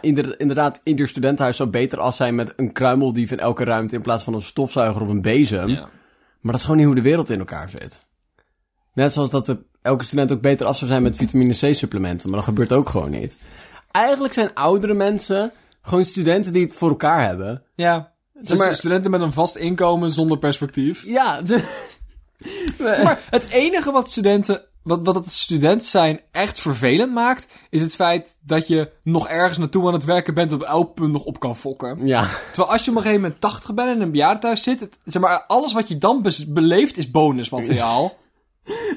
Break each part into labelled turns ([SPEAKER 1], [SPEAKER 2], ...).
[SPEAKER 1] inder- inderdaad, ieder studentenhuis zou beter af zijn met een kruimeldief in elke ruimte in plaats van een stofzuiger of een bezem.
[SPEAKER 2] Ja.
[SPEAKER 1] Maar dat is gewoon niet hoe de wereld in elkaar zit. Net zoals dat de- elke student ook beter af zou zijn met vitamine C-supplementen, maar dat gebeurt ook gewoon niet. Eigenlijk zijn oudere mensen gewoon studenten die het voor elkaar hebben.
[SPEAKER 2] ja. Dus
[SPEAKER 1] maar-
[SPEAKER 2] studenten met een vast inkomen zonder perspectief.
[SPEAKER 1] Ja, ze-
[SPEAKER 2] Maar het enige wat studenten, wat, wat het student zijn echt vervelend maakt, is het feit dat je nog ergens naartoe aan het werken bent dat op elk punt nog op kan fokken.
[SPEAKER 1] ja.
[SPEAKER 2] Terwijl als je op een gegeven moment 80 bent en in een bejaardentehuis zit, het- zeg maar, alles wat je dan bes- beleeft is bonusmateriaal.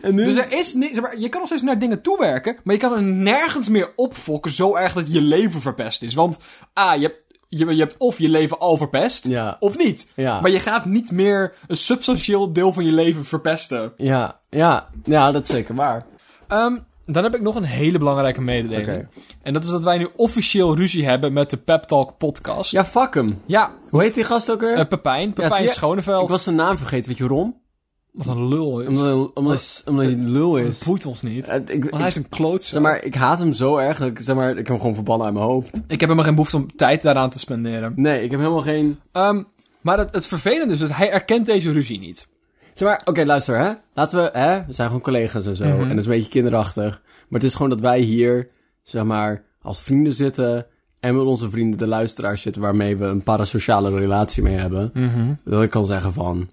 [SPEAKER 1] En nu?
[SPEAKER 2] Dus er is ni- zeg maar, je kan nog steeds naar dingen toewerken, maar je kan er nergens meer opfokken zo erg dat je leven verpest is. Want, ah, je hebt, je, je hebt of je leven al verpest,
[SPEAKER 1] Ja.
[SPEAKER 2] of niet.
[SPEAKER 1] Ja.
[SPEAKER 2] Maar je gaat niet meer een substantieel deel van je leven verpesten.
[SPEAKER 1] ja, ja, ja, dat is zeker waar.
[SPEAKER 2] Ehm, dan heb ik nog een hele belangrijke mededeling.
[SPEAKER 1] Oké.
[SPEAKER 2] En dat is dat wij nu officieel ruzie hebben met de Pep Talk podcast.
[SPEAKER 1] Ja, fuck hem.
[SPEAKER 2] ja
[SPEAKER 1] Hoe heet die gast ook weer?
[SPEAKER 2] eh, Pepijn. Pepijn
[SPEAKER 1] zie je?
[SPEAKER 2] Schoneveld.
[SPEAKER 1] Ik was zijn naam vergeten, weet je waarom?
[SPEAKER 2] Wat een lul is.
[SPEAKER 1] Omdat hij, omdat hij, omdat hij een lul is.
[SPEAKER 2] Het boeit ons niet.
[SPEAKER 1] Eh, Ik, ik-
[SPEAKER 2] Want hij is een klootzak.
[SPEAKER 1] zeg maar, ik haat hem zo erg dat ik, zeg maar, ik heb hem gewoon verbannen uit mijn hoofd.
[SPEAKER 2] Ik heb helemaal geen behoefte om tijd daaraan te spenderen.
[SPEAKER 1] Nee, ik heb helemaal geen...
[SPEAKER 2] Ehm, maar het, het vervelende is dat hij erkent deze ruzie niet.
[SPEAKER 1] Zeg maar, oké, luister, hè. Laten we, hè. We zijn gewoon collega's en zo. En dat is een beetje kinderachtig. Maar het is gewoon dat wij hier, zeg maar, als vrienden zitten... En met onze vrienden, de luisteraars zitten... waarmee we een parasociale relatie mee hebben. Dat ik kan zeggen van...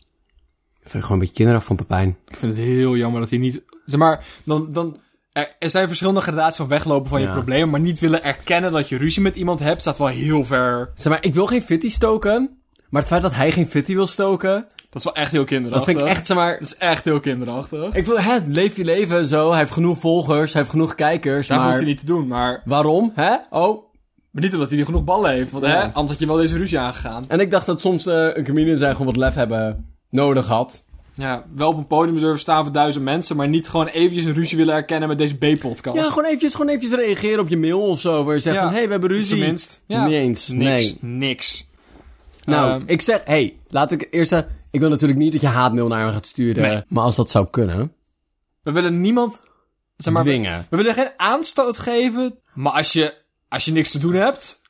[SPEAKER 1] Ik vind het gewoon een beetje kinderachtig van Pepijn.
[SPEAKER 2] Ik vind het heel jammer dat hij niet... Zeg maar, dan... dan er, er zijn verschillende gradaties van weglopen van je
[SPEAKER 1] Ja.
[SPEAKER 2] problemen... maar niet willen erkennen dat je ruzie met iemand hebt... staat wel heel ver.
[SPEAKER 1] Zeg maar, ik wil geen fitty stoken... Maar het feit dat hij geen fitty wil stoken...
[SPEAKER 2] Dat is wel echt heel
[SPEAKER 1] Dat
[SPEAKER 2] kinderachtig.
[SPEAKER 1] vind ik echt, zeg maar...
[SPEAKER 2] Dat is echt heel kinderachtig.
[SPEAKER 1] Ik wil, hè, leef je leven zo. Hij heeft genoeg volgers, hij heeft genoeg kijkers,
[SPEAKER 2] Dat
[SPEAKER 1] maar...
[SPEAKER 2] hoeft hij niet te doen, maar...
[SPEAKER 1] Waarom, hè? Oh.
[SPEAKER 2] Maar niet omdat hij er genoeg ballen heeft, want hè,
[SPEAKER 1] Ja.
[SPEAKER 2] anders had je wel deze ruzie aangegaan.
[SPEAKER 1] En ik dacht dat soms eh, een comedian zijn gewoon wat lef hebben nodig had.
[SPEAKER 2] Ja, wel op een podium durven staan voor duizend mensen... maar niet gewoon eventjes een ruzie willen erkennen met deze B-podcast.
[SPEAKER 1] Ja, gewoon eventjes, gewoon eventjes reageren op je mail of zo. Waar je zegt
[SPEAKER 2] Ja.
[SPEAKER 1] van, hé, hey, we hebben ruzie.
[SPEAKER 2] Tenminste. Ja.
[SPEAKER 1] Niet eens,
[SPEAKER 2] Niks.
[SPEAKER 1] nee.
[SPEAKER 2] Niks.
[SPEAKER 1] Nou,
[SPEAKER 2] Ehm.
[SPEAKER 1] ik zeg, hé, hey, laat ik eerst zeggen... Ik wil natuurlijk niet dat je haatmail naar me gaat sturen.
[SPEAKER 2] Nee.
[SPEAKER 1] Maar als dat zou kunnen,
[SPEAKER 2] We willen niemand. Zeg maar, we,
[SPEAKER 1] dwingen.
[SPEAKER 2] we willen geen aanstoot geven. Maar als je, als je niks te doen hebt.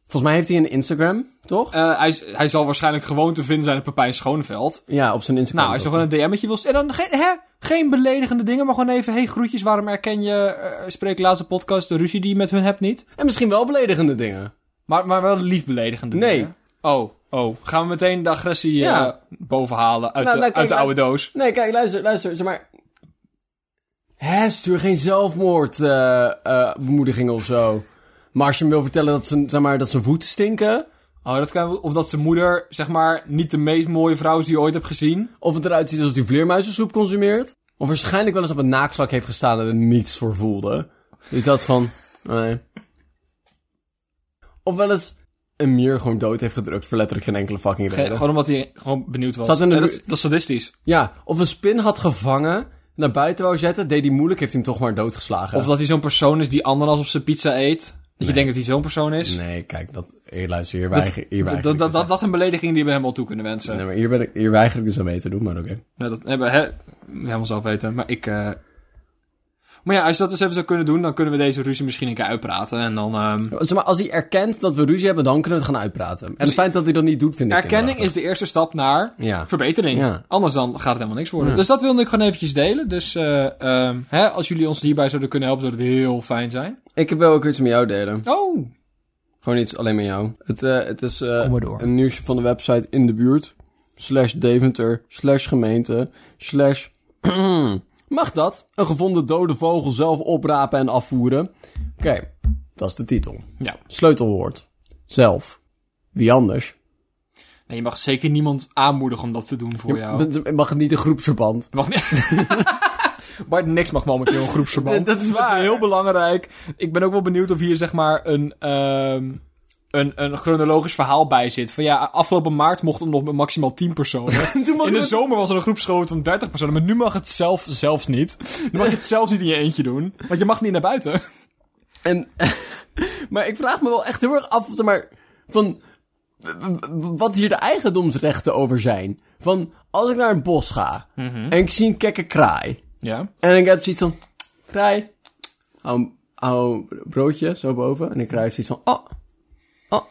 [SPEAKER 1] Volgens mij heeft hij een Instagram, toch?
[SPEAKER 2] eh, hij, is- hij zal waarschijnlijk gewoon te vinden zijn op Pepijn Schoonveld.
[SPEAKER 1] ja, op zijn Instagram.
[SPEAKER 2] Nou, als je gewoon een DM'tje wil. En dan geen, hè, geen beledigende dingen, maar gewoon even. Hey, groetjes, waarom herken je. eh, spreek de laatste podcast, de ruzie die je met hun hebt niet?
[SPEAKER 1] En misschien wel beledigende dingen.
[SPEAKER 2] Maar, maar wel lief beledigende
[SPEAKER 1] Nee.
[SPEAKER 2] dingen. Oh, oh. Gaan we meteen de agressie
[SPEAKER 1] Ja.
[SPEAKER 2] eh, bovenhalen uit,
[SPEAKER 1] Nou,
[SPEAKER 2] de,
[SPEAKER 1] nou, kijk,
[SPEAKER 2] uit de
[SPEAKER 1] nou-
[SPEAKER 2] oude doos?
[SPEAKER 1] Nee, kijk, luister, luister, zeg maar. Hè, stuur geen zelfmoordbemoediging of zo. Maar als je hem wil vertellen dat zijn, zeg maar, dat zijn voeten stinken,
[SPEAKER 2] Oh, dat kan, of dat zijn moeder, zeg maar, niet de meest mooie vrouw is die je ooit hebt gezien.
[SPEAKER 1] of het eruit ziet alsof hij vleermuizensoep consumeert, of waarschijnlijk wel eens op een naakslak heeft gestaan en er niets voor voelde. Dus dat van, nee. Of wel eens een mier gewoon dood heeft gedrukt voor letterlijk geen enkele fucking
[SPEAKER 2] Ge-
[SPEAKER 1] reden.
[SPEAKER 2] Gewoon omdat hij gewoon benieuwd was.
[SPEAKER 1] Zat in de
[SPEAKER 2] Ja, dat,
[SPEAKER 1] ru-
[SPEAKER 2] is- dat is sadistisch.
[SPEAKER 1] Ja, of een spin had gevangen, naar buiten wou zetten, deed hij moeilijk, heeft hij hem toch maar doodgeslagen.
[SPEAKER 2] Of dat hij zo'n persoon is die ananas op zijn pizza eet. Dat je denkt dat hij zo'n persoon is.
[SPEAKER 1] Nee, kijk, dat, hier, luister, hier weiger, hier weiger
[SPEAKER 2] Dat,
[SPEAKER 1] ik
[SPEAKER 2] dat,
[SPEAKER 1] dus
[SPEAKER 2] dat, dat is een belediging die we hem wel toe kunnen wensen.
[SPEAKER 1] Nee, maar hier, ben ik, hier weiger ik dus aan mee te doen, maar oké.
[SPEAKER 2] Ja, dat hebben we hè, helemaal zelf weten. Maar ik... eh, Maar ja, als je dat dus even zou kunnen doen, dan kunnen we deze ruzie misschien een keer uitpraten. En dan... ehm,
[SPEAKER 1] Zeg maar, als hij erkent dat we ruzie hebben, dan kunnen we het gaan uitpraten. En het feit dat hij dat niet doet, vind ik
[SPEAKER 2] Erkenning is de eerste stap naar
[SPEAKER 1] Ja.
[SPEAKER 2] verbetering.
[SPEAKER 1] Ja.
[SPEAKER 2] Anders dan gaat het helemaal niks worden. Dus dat wilde ik gewoon eventjes delen. Dus eh, ehm, hè, als jullie ons hierbij zouden kunnen helpen, zou dat heel fijn zijn.
[SPEAKER 1] Ik heb wel ook iets met jou delen.
[SPEAKER 2] Oh!
[SPEAKER 1] Gewoon iets alleen met jou. Het, eh, het is eh,
[SPEAKER 2] maar door.
[SPEAKER 1] een nieuwsje van de website in de buurt. Slash Deventer. Slash gemeente. Slash... Mag dat? Een gevonden dode vogel zelf oprapen en afvoeren. Oké, dat is de titel.
[SPEAKER 2] Ja.
[SPEAKER 1] Sleutelwoord. Zelf. Wie anders?
[SPEAKER 2] En je mag zeker niemand aanmoedigen om dat te doen voor jou.
[SPEAKER 1] B- Mag het niet een groepsverband?
[SPEAKER 2] Mag niet. Bart, niks mag momenteel een groepsverband.
[SPEAKER 1] Dat- dat is waar.
[SPEAKER 2] Dat is heel belangrijk. Ik ben ook wel benieuwd of hier zeg maar een, ehm, een, een chronologisch verhaal bij zit. Van ja, afgelopen maart mocht het nog met maximaal 10 personen.
[SPEAKER 1] Toen mag
[SPEAKER 2] In de
[SPEAKER 1] het-
[SPEAKER 2] zomer was er een groepsgroot van 30 personen. Maar nu mag het zelf zelfs niet. Nu mag je het zelfs niet in je eentje doen. Want je mag niet naar buiten.
[SPEAKER 1] En, maar ik vraag me wel echt heel erg af, zeg maar, van w- w- wat hier de eigendomsrechten over zijn. Van, als ik naar een bos ga
[SPEAKER 2] Mhm.
[SPEAKER 1] en ik zie een kekke kraai.
[SPEAKER 2] Ja.
[SPEAKER 1] En ik heb zoiets van, kraai, hou, hou broodje zo boven. En de kraai heeft zoiets van, oh, Oh.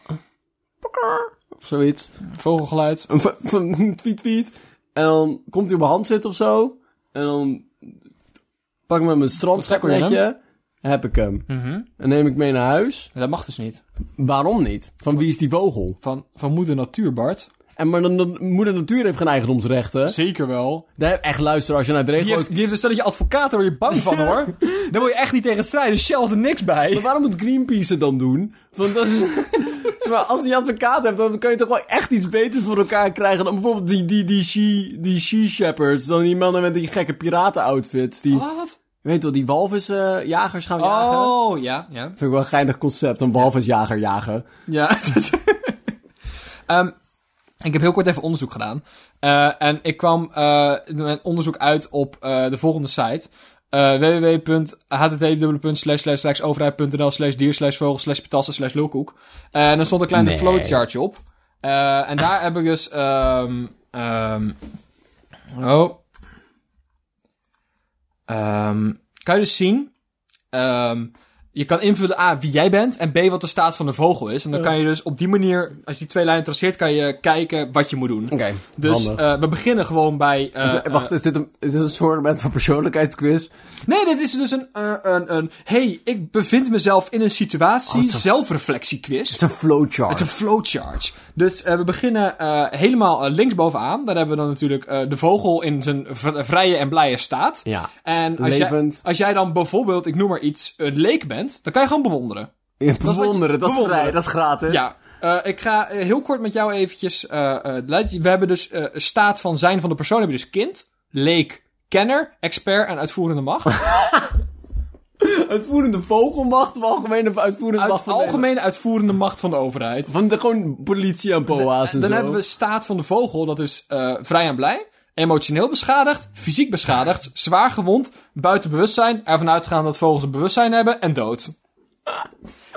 [SPEAKER 1] Of zoiets.
[SPEAKER 2] Vogelgeluid.
[SPEAKER 1] Een v- v- tweet, tweet. En dan komt hij op mijn hand zitten of zo. En dan pak ik hem met mijn
[SPEAKER 2] trek je
[SPEAKER 1] strandschapnetje. Heb ik hem.
[SPEAKER 2] Mhm.
[SPEAKER 1] En neem ik mee naar huis.
[SPEAKER 2] Dat mag dus niet.
[SPEAKER 1] Waarom niet? Van wie is die vogel?
[SPEAKER 2] Van, van moeder natuur, Bart.
[SPEAKER 1] En maar dan, dan- moeder natuur heeft geen eigendomsrechten.
[SPEAKER 2] Zeker wel.
[SPEAKER 1] Daar echt luisteren als je naar het
[SPEAKER 2] Die
[SPEAKER 1] regelt.
[SPEAKER 2] heeft, die heeft een stelletje advocaten, daar word je bang van hoor. Daar wil je echt niet tegen strijden. Shell is er niks bij.
[SPEAKER 1] Maar waarom moet Greenpeace het dan doen? Want dat is, zeg maar, als die advocaat heeft, dan kan je toch wel echt iets beters voor elkaar krijgen dan bijvoorbeeld die, die, die, she, die she shepherds. Dan die mannen met die gekke piratenoutfits. Die,
[SPEAKER 2] Wat?
[SPEAKER 1] weet wel, die walvisjagers gaan jagen.
[SPEAKER 2] Oh, ja. Ja.
[SPEAKER 1] Vind ik wel een geinig concept, een walvisjager jagen.
[SPEAKER 2] ja. Ehm, ik heb heel kort even onderzoek gedaan. Eh, en ik kwam eh, in mijn onderzoek uit op eh, de volgende site. eh www.http://overheid.nl slash dier slash vogel slash petassen slash lulkoek. Eh, en dan stond een klein
[SPEAKER 1] Nee.
[SPEAKER 2] flowchartje op. Eh, en daar heb ik dus... ehm ehm oh. Ehm, kan je dus zien... ehm, je kan invullen A, wie jij bent en B, wat de staat van de vogel is. En dan kan je dus op die manier, als je die twee lijnen traceert, kan je kijken wat je moet doen.
[SPEAKER 1] Oké,
[SPEAKER 2] Dus eh, we beginnen gewoon bij. eh,
[SPEAKER 1] Eh, Wacht, is dit, een, is dit een soort van persoonlijkheidsquiz?
[SPEAKER 2] eh, nee, dit is dus een. eh, een, een hey, ik bevind mezelf in een situatie. zelfreflectiequiz.
[SPEAKER 1] Het is een flowchart.
[SPEAKER 2] Het is een flowchart. Dus eh, we beginnen eh, helemaal eh, linksbovenaan. Daar hebben we dan natuurlijk eh, de vogel in zijn v- vrije en blije staat.
[SPEAKER 1] Ja.
[SPEAKER 2] En als jij,
[SPEAKER 1] Levend.
[SPEAKER 2] als jij dan bijvoorbeeld, ik noem maar iets, een leek bent, dan kan je gewoon bewonderen.
[SPEAKER 1] Ja,
[SPEAKER 2] wat je-
[SPEAKER 1] bewonderen, dat is
[SPEAKER 2] bewonderen.
[SPEAKER 1] vrij, dat is gratis.
[SPEAKER 2] Ja, eh, ik ga eh, heel kort met jou eventjes... eh, eh, laat je- we hebben dus eh, staat van zijn van de persoon. Heb je dus kind, leek, kenner, expert en uitvoerende macht.
[SPEAKER 1] Uitvoerende vogelmacht of algemene uitvoerende macht
[SPEAKER 2] Uit,
[SPEAKER 1] van Nederland?
[SPEAKER 2] algemene uitvoerende macht van de overheid.
[SPEAKER 1] Van de, gewoon politie en boa's en
[SPEAKER 2] Dan
[SPEAKER 1] zo.
[SPEAKER 2] hebben we staat van de vogel. Dat is eh, vrij en blij. Emotioneel beschadigd, fysiek beschadigd, zwaar gewond, buiten bewustzijn, ervan uitgaan dat vogels een bewustzijn hebben en dood.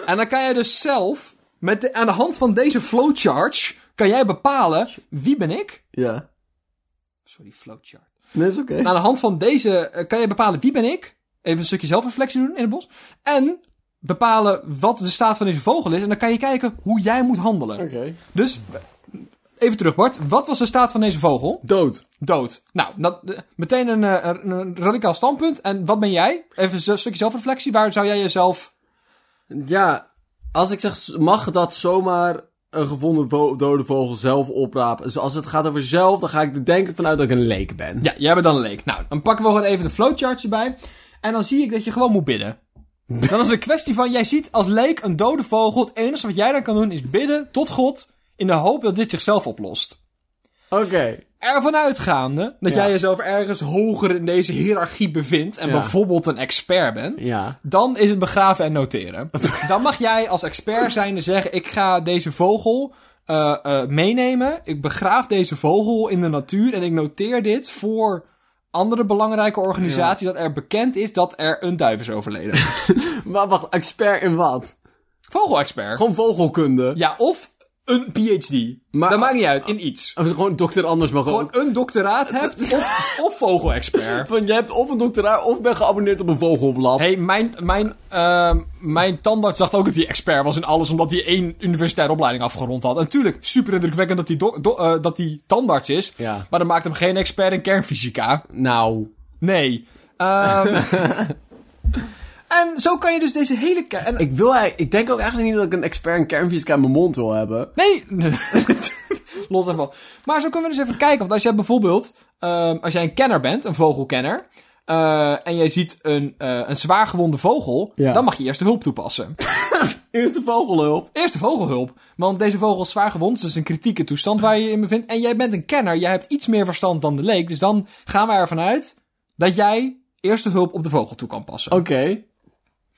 [SPEAKER 2] En dan kan jij dus zelf, met de, aan de hand van deze flowchart, kan jij bepalen wie ben ik
[SPEAKER 1] Ja,
[SPEAKER 2] Sorry, flowchart.
[SPEAKER 1] dat is oké.
[SPEAKER 2] Aan de hand van deze eh, kan je bepalen wie ben ik. Even een stukje zelfreflectie doen in het bos. En bepalen wat de staat van deze vogel is. En dan kan je kijken hoe jij moet handelen. Dus, even terug Bart. Wat was de staat van deze vogel?
[SPEAKER 1] Dood.
[SPEAKER 2] Dood. Nou, dat, eh, meteen een, eh, een, een radicaal standpunt. En wat ben jij? Even een stukje zelfreflectie. Waar zou jij jezelf...
[SPEAKER 1] Ja, als ik zeg, mag dat zomaar een gevonden vo- dode vogel zelf oprapen? Dus als het gaat over zelf, dan ga ik er denken vanuit dat ik een leek ben.
[SPEAKER 2] Ja, jij bent dan een leek. Nou, dan pakken we gewoon even de flowcharts erbij. En dan zie ik dat je gewoon moet bidden. Dan is het een kwestie van, jij ziet als leek een dode vogel. Het enige wat jij dan kan doen is bidden tot God. In de hoop dat dit zichzelf oplost.
[SPEAKER 1] Oké.
[SPEAKER 2] Ervan uitgaande dat
[SPEAKER 1] Ja.
[SPEAKER 2] jij jezelf ergens hoger in deze hiërarchie bevindt. En
[SPEAKER 1] Ja.
[SPEAKER 2] bijvoorbeeld een expert bent.
[SPEAKER 1] Ja.
[SPEAKER 2] Dan is het begraven en noteren. Dan mag jij als expert zijnde zeggen: Ik ga deze vogel eh, eh, meenemen. Ik begraaf deze vogel in de natuur. En ik noteer dit voor andere belangrijke organisatie. Dat er bekend is dat er een duif is overleden.
[SPEAKER 1] Maar wacht, expert in wat?
[SPEAKER 2] Vogelexpert.
[SPEAKER 1] Gewoon vogelkunde.
[SPEAKER 2] Ja, of een PhD.
[SPEAKER 1] Maar-
[SPEAKER 2] dat maakt niet uit, in iets.
[SPEAKER 1] Of gewoon dokter anders mag
[SPEAKER 2] Gewoon
[SPEAKER 1] ook.
[SPEAKER 2] een doctoraat hebt of, of vogelexpert.
[SPEAKER 1] Van, je hebt of een doctoraar of ben geabonneerd op een vogelblad.
[SPEAKER 2] Hé, hey, mijn, mijn, ehm, mijn tandarts dacht ook dat hij expert was in alles, omdat hij één universitaire opleiding afgerond had. En natuurlijk, super indrukwekkend dat hij, do- do- eh, dat hij tandarts is,
[SPEAKER 1] Ja.
[SPEAKER 2] maar dat maakt hem geen expert in kernfysica.
[SPEAKER 1] Nou.
[SPEAKER 2] Nee. Ehm, en zo kan je dus deze hele... ke- En,
[SPEAKER 1] Ik, wil, eigenlijk- ik denk ook eigenlijk niet dat ik een expert in kernfysica in mijn mond wil hebben.
[SPEAKER 2] Nee! Los daarvan. Maar zo kunnen we dus even kijken. Want als jij bijvoorbeeld, ehm, als jij een kenner bent, een vogelkenner, eh, en jij ziet een, eh een zwaargewonde vogel,
[SPEAKER 1] Ja.
[SPEAKER 2] dan mag je eerst de hulp toepassen.
[SPEAKER 1] Eerste vogelhulp.
[SPEAKER 2] Eerst de vogelhulp. Want deze vogel is zwaar gewond. Dus een kritieke toestand waar je je in bevindt. En jij bent een kenner. Jij hebt iets meer verstand dan de leek. Dus dan gaan we ervan uit dat jij eerste hulp op de vogel toe kan passen.
[SPEAKER 1] Oké.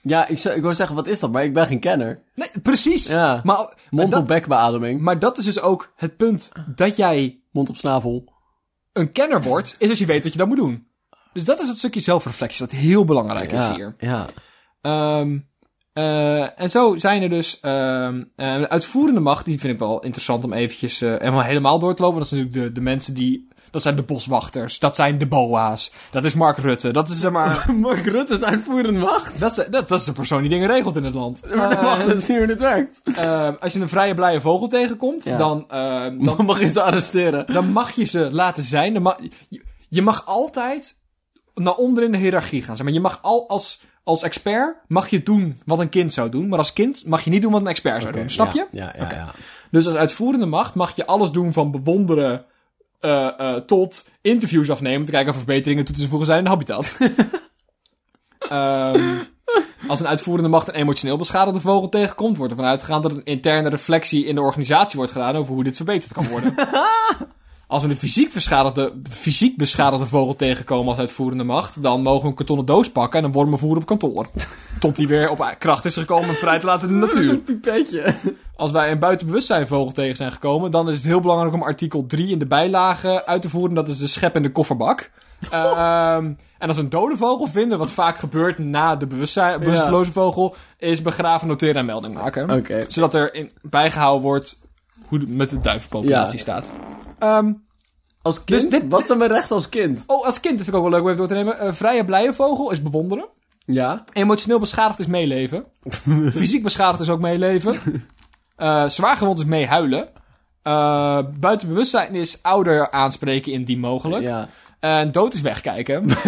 [SPEAKER 1] Ja, ik, zou, ik wou zeggen, wat is dat? Maar ik ben geen kenner.
[SPEAKER 2] Nee, precies.
[SPEAKER 1] Ja.
[SPEAKER 2] Maar, maar,
[SPEAKER 1] Mond op
[SPEAKER 2] dat,
[SPEAKER 1] bekbeademing.
[SPEAKER 2] maar dat is dus ook het punt dat jij
[SPEAKER 1] Mond op snavel.
[SPEAKER 2] een kenner wordt. Is als je weet wat je dan moet doen. Dus dat is het stukje zelfreflectie dat heel belangrijk is hier.
[SPEAKER 1] ja.
[SPEAKER 2] Ehm, eh, en zo zijn er dus ehm, eh, de uitvoerende macht, die vind ik wel interessant om eventjes eh, helemaal, helemaal door te lopen. Dat is natuurlijk de, de mensen die Dat zijn de boswachters. Dat zijn de boa's. Dat is Mark Rutte. Dat is zeg maar...
[SPEAKER 1] Mark Rutte is de uitvoerende macht.
[SPEAKER 2] dat, is, dat, dat is de persoon die dingen regelt in het land.
[SPEAKER 1] Maar de
[SPEAKER 2] Eh,
[SPEAKER 1] macht is nu hoe dit werkt.
[SPEAKER 2] eh, als je een vrije, blije vogel tegenkomt,
[SPEAKER 1] Ja.
[SPEAKER 2] dan, ehm, dan,
[SPEAKER 1] Dan mag je ze arresteren.
[SPEAKER 2] dan mag je ze laten zijn. Dan ma- je, je mag altijd naar onder in de hiërarchie gaan. Zeg maar, je mag al als, als expert mag je doen wat een kind zou doen. Maar als kind mag je niet doen wat een expert zou doen. Snap je?
[SPEAKER 1] Ja, ja, ja.
[SPEAKER 2] Oké.
[SPEAKER 1] ja.
[SPEAKER 2] Dus als uitvoerende macht mag je alles doen van bewonderen eh, eh, tot interviews afnemen. Om te kijken of er verbeteringen toe te voegen zijn in de habitat. Ehm, als een uitvoerende macht een emotioneel beschadigde vogel tegenkomt, wordt ervan uitgegaan dat een interne reflectie in de organisatie wordt gedaan over hoe dit verbeterd kan worden. Als we een fysiek, beschadigde, fysiek beschadigde vogel tegenkomen als uitvoerende macht, dan mogen we een kartonnen doos pakken en een wormen voeren op kantoor. Tot die weer op kracht is gekomen en vrij te laten in de
[SPEAKER 1] Dat is
[SPEAKER 2] natuur.
[SPEAKER 1] een pipetje.
[SPEAKER 2] Als wij een buitenbewustzijnvogel tegen zijn gekomen, dan is het heel belangrijk om artikel 3 in de bijlage uit te voeren. Dat is de schep in de kofferbak. Ehm, en als we een dode vogel vinden, wat vaak gebeurt na de bewustzijn, bewusteloze vogel, is begraven, noteren en melding maken.
[SPEAKER 1] Oké.
[SPEAKER 2] Zodat er in, bijgehouden wordt hoe het met de duivenpopulatie
[SPEAKER 1] Ja.
[SPEAKER 2] staat. Ehm,
[SPEAKER 1] Als kind?
[SPEAKER 2] Dus dit-
[SPEAKER 1] Wat zijn mijn rechten als kind?
[SPEAKER 2] oh, als kind vind ik ook wel leuk om even door te nemen. Eh, vrije, blije vogel is bewonderen.
[SPEAKER 1] Ja.
[SPEAKER 2] Emotioneel beschadigd is meeleven. Fysiek beschadigd is ook meeleven. Eh zwaargewond is meehuilen. Eh buiten bewustzijn is ouder aanspreken indien mogelijk.
[SPEAKER 1] Ja.
[SPEAKER 2] En dood is wegkijken.
[SPEAKER 1] Kijken.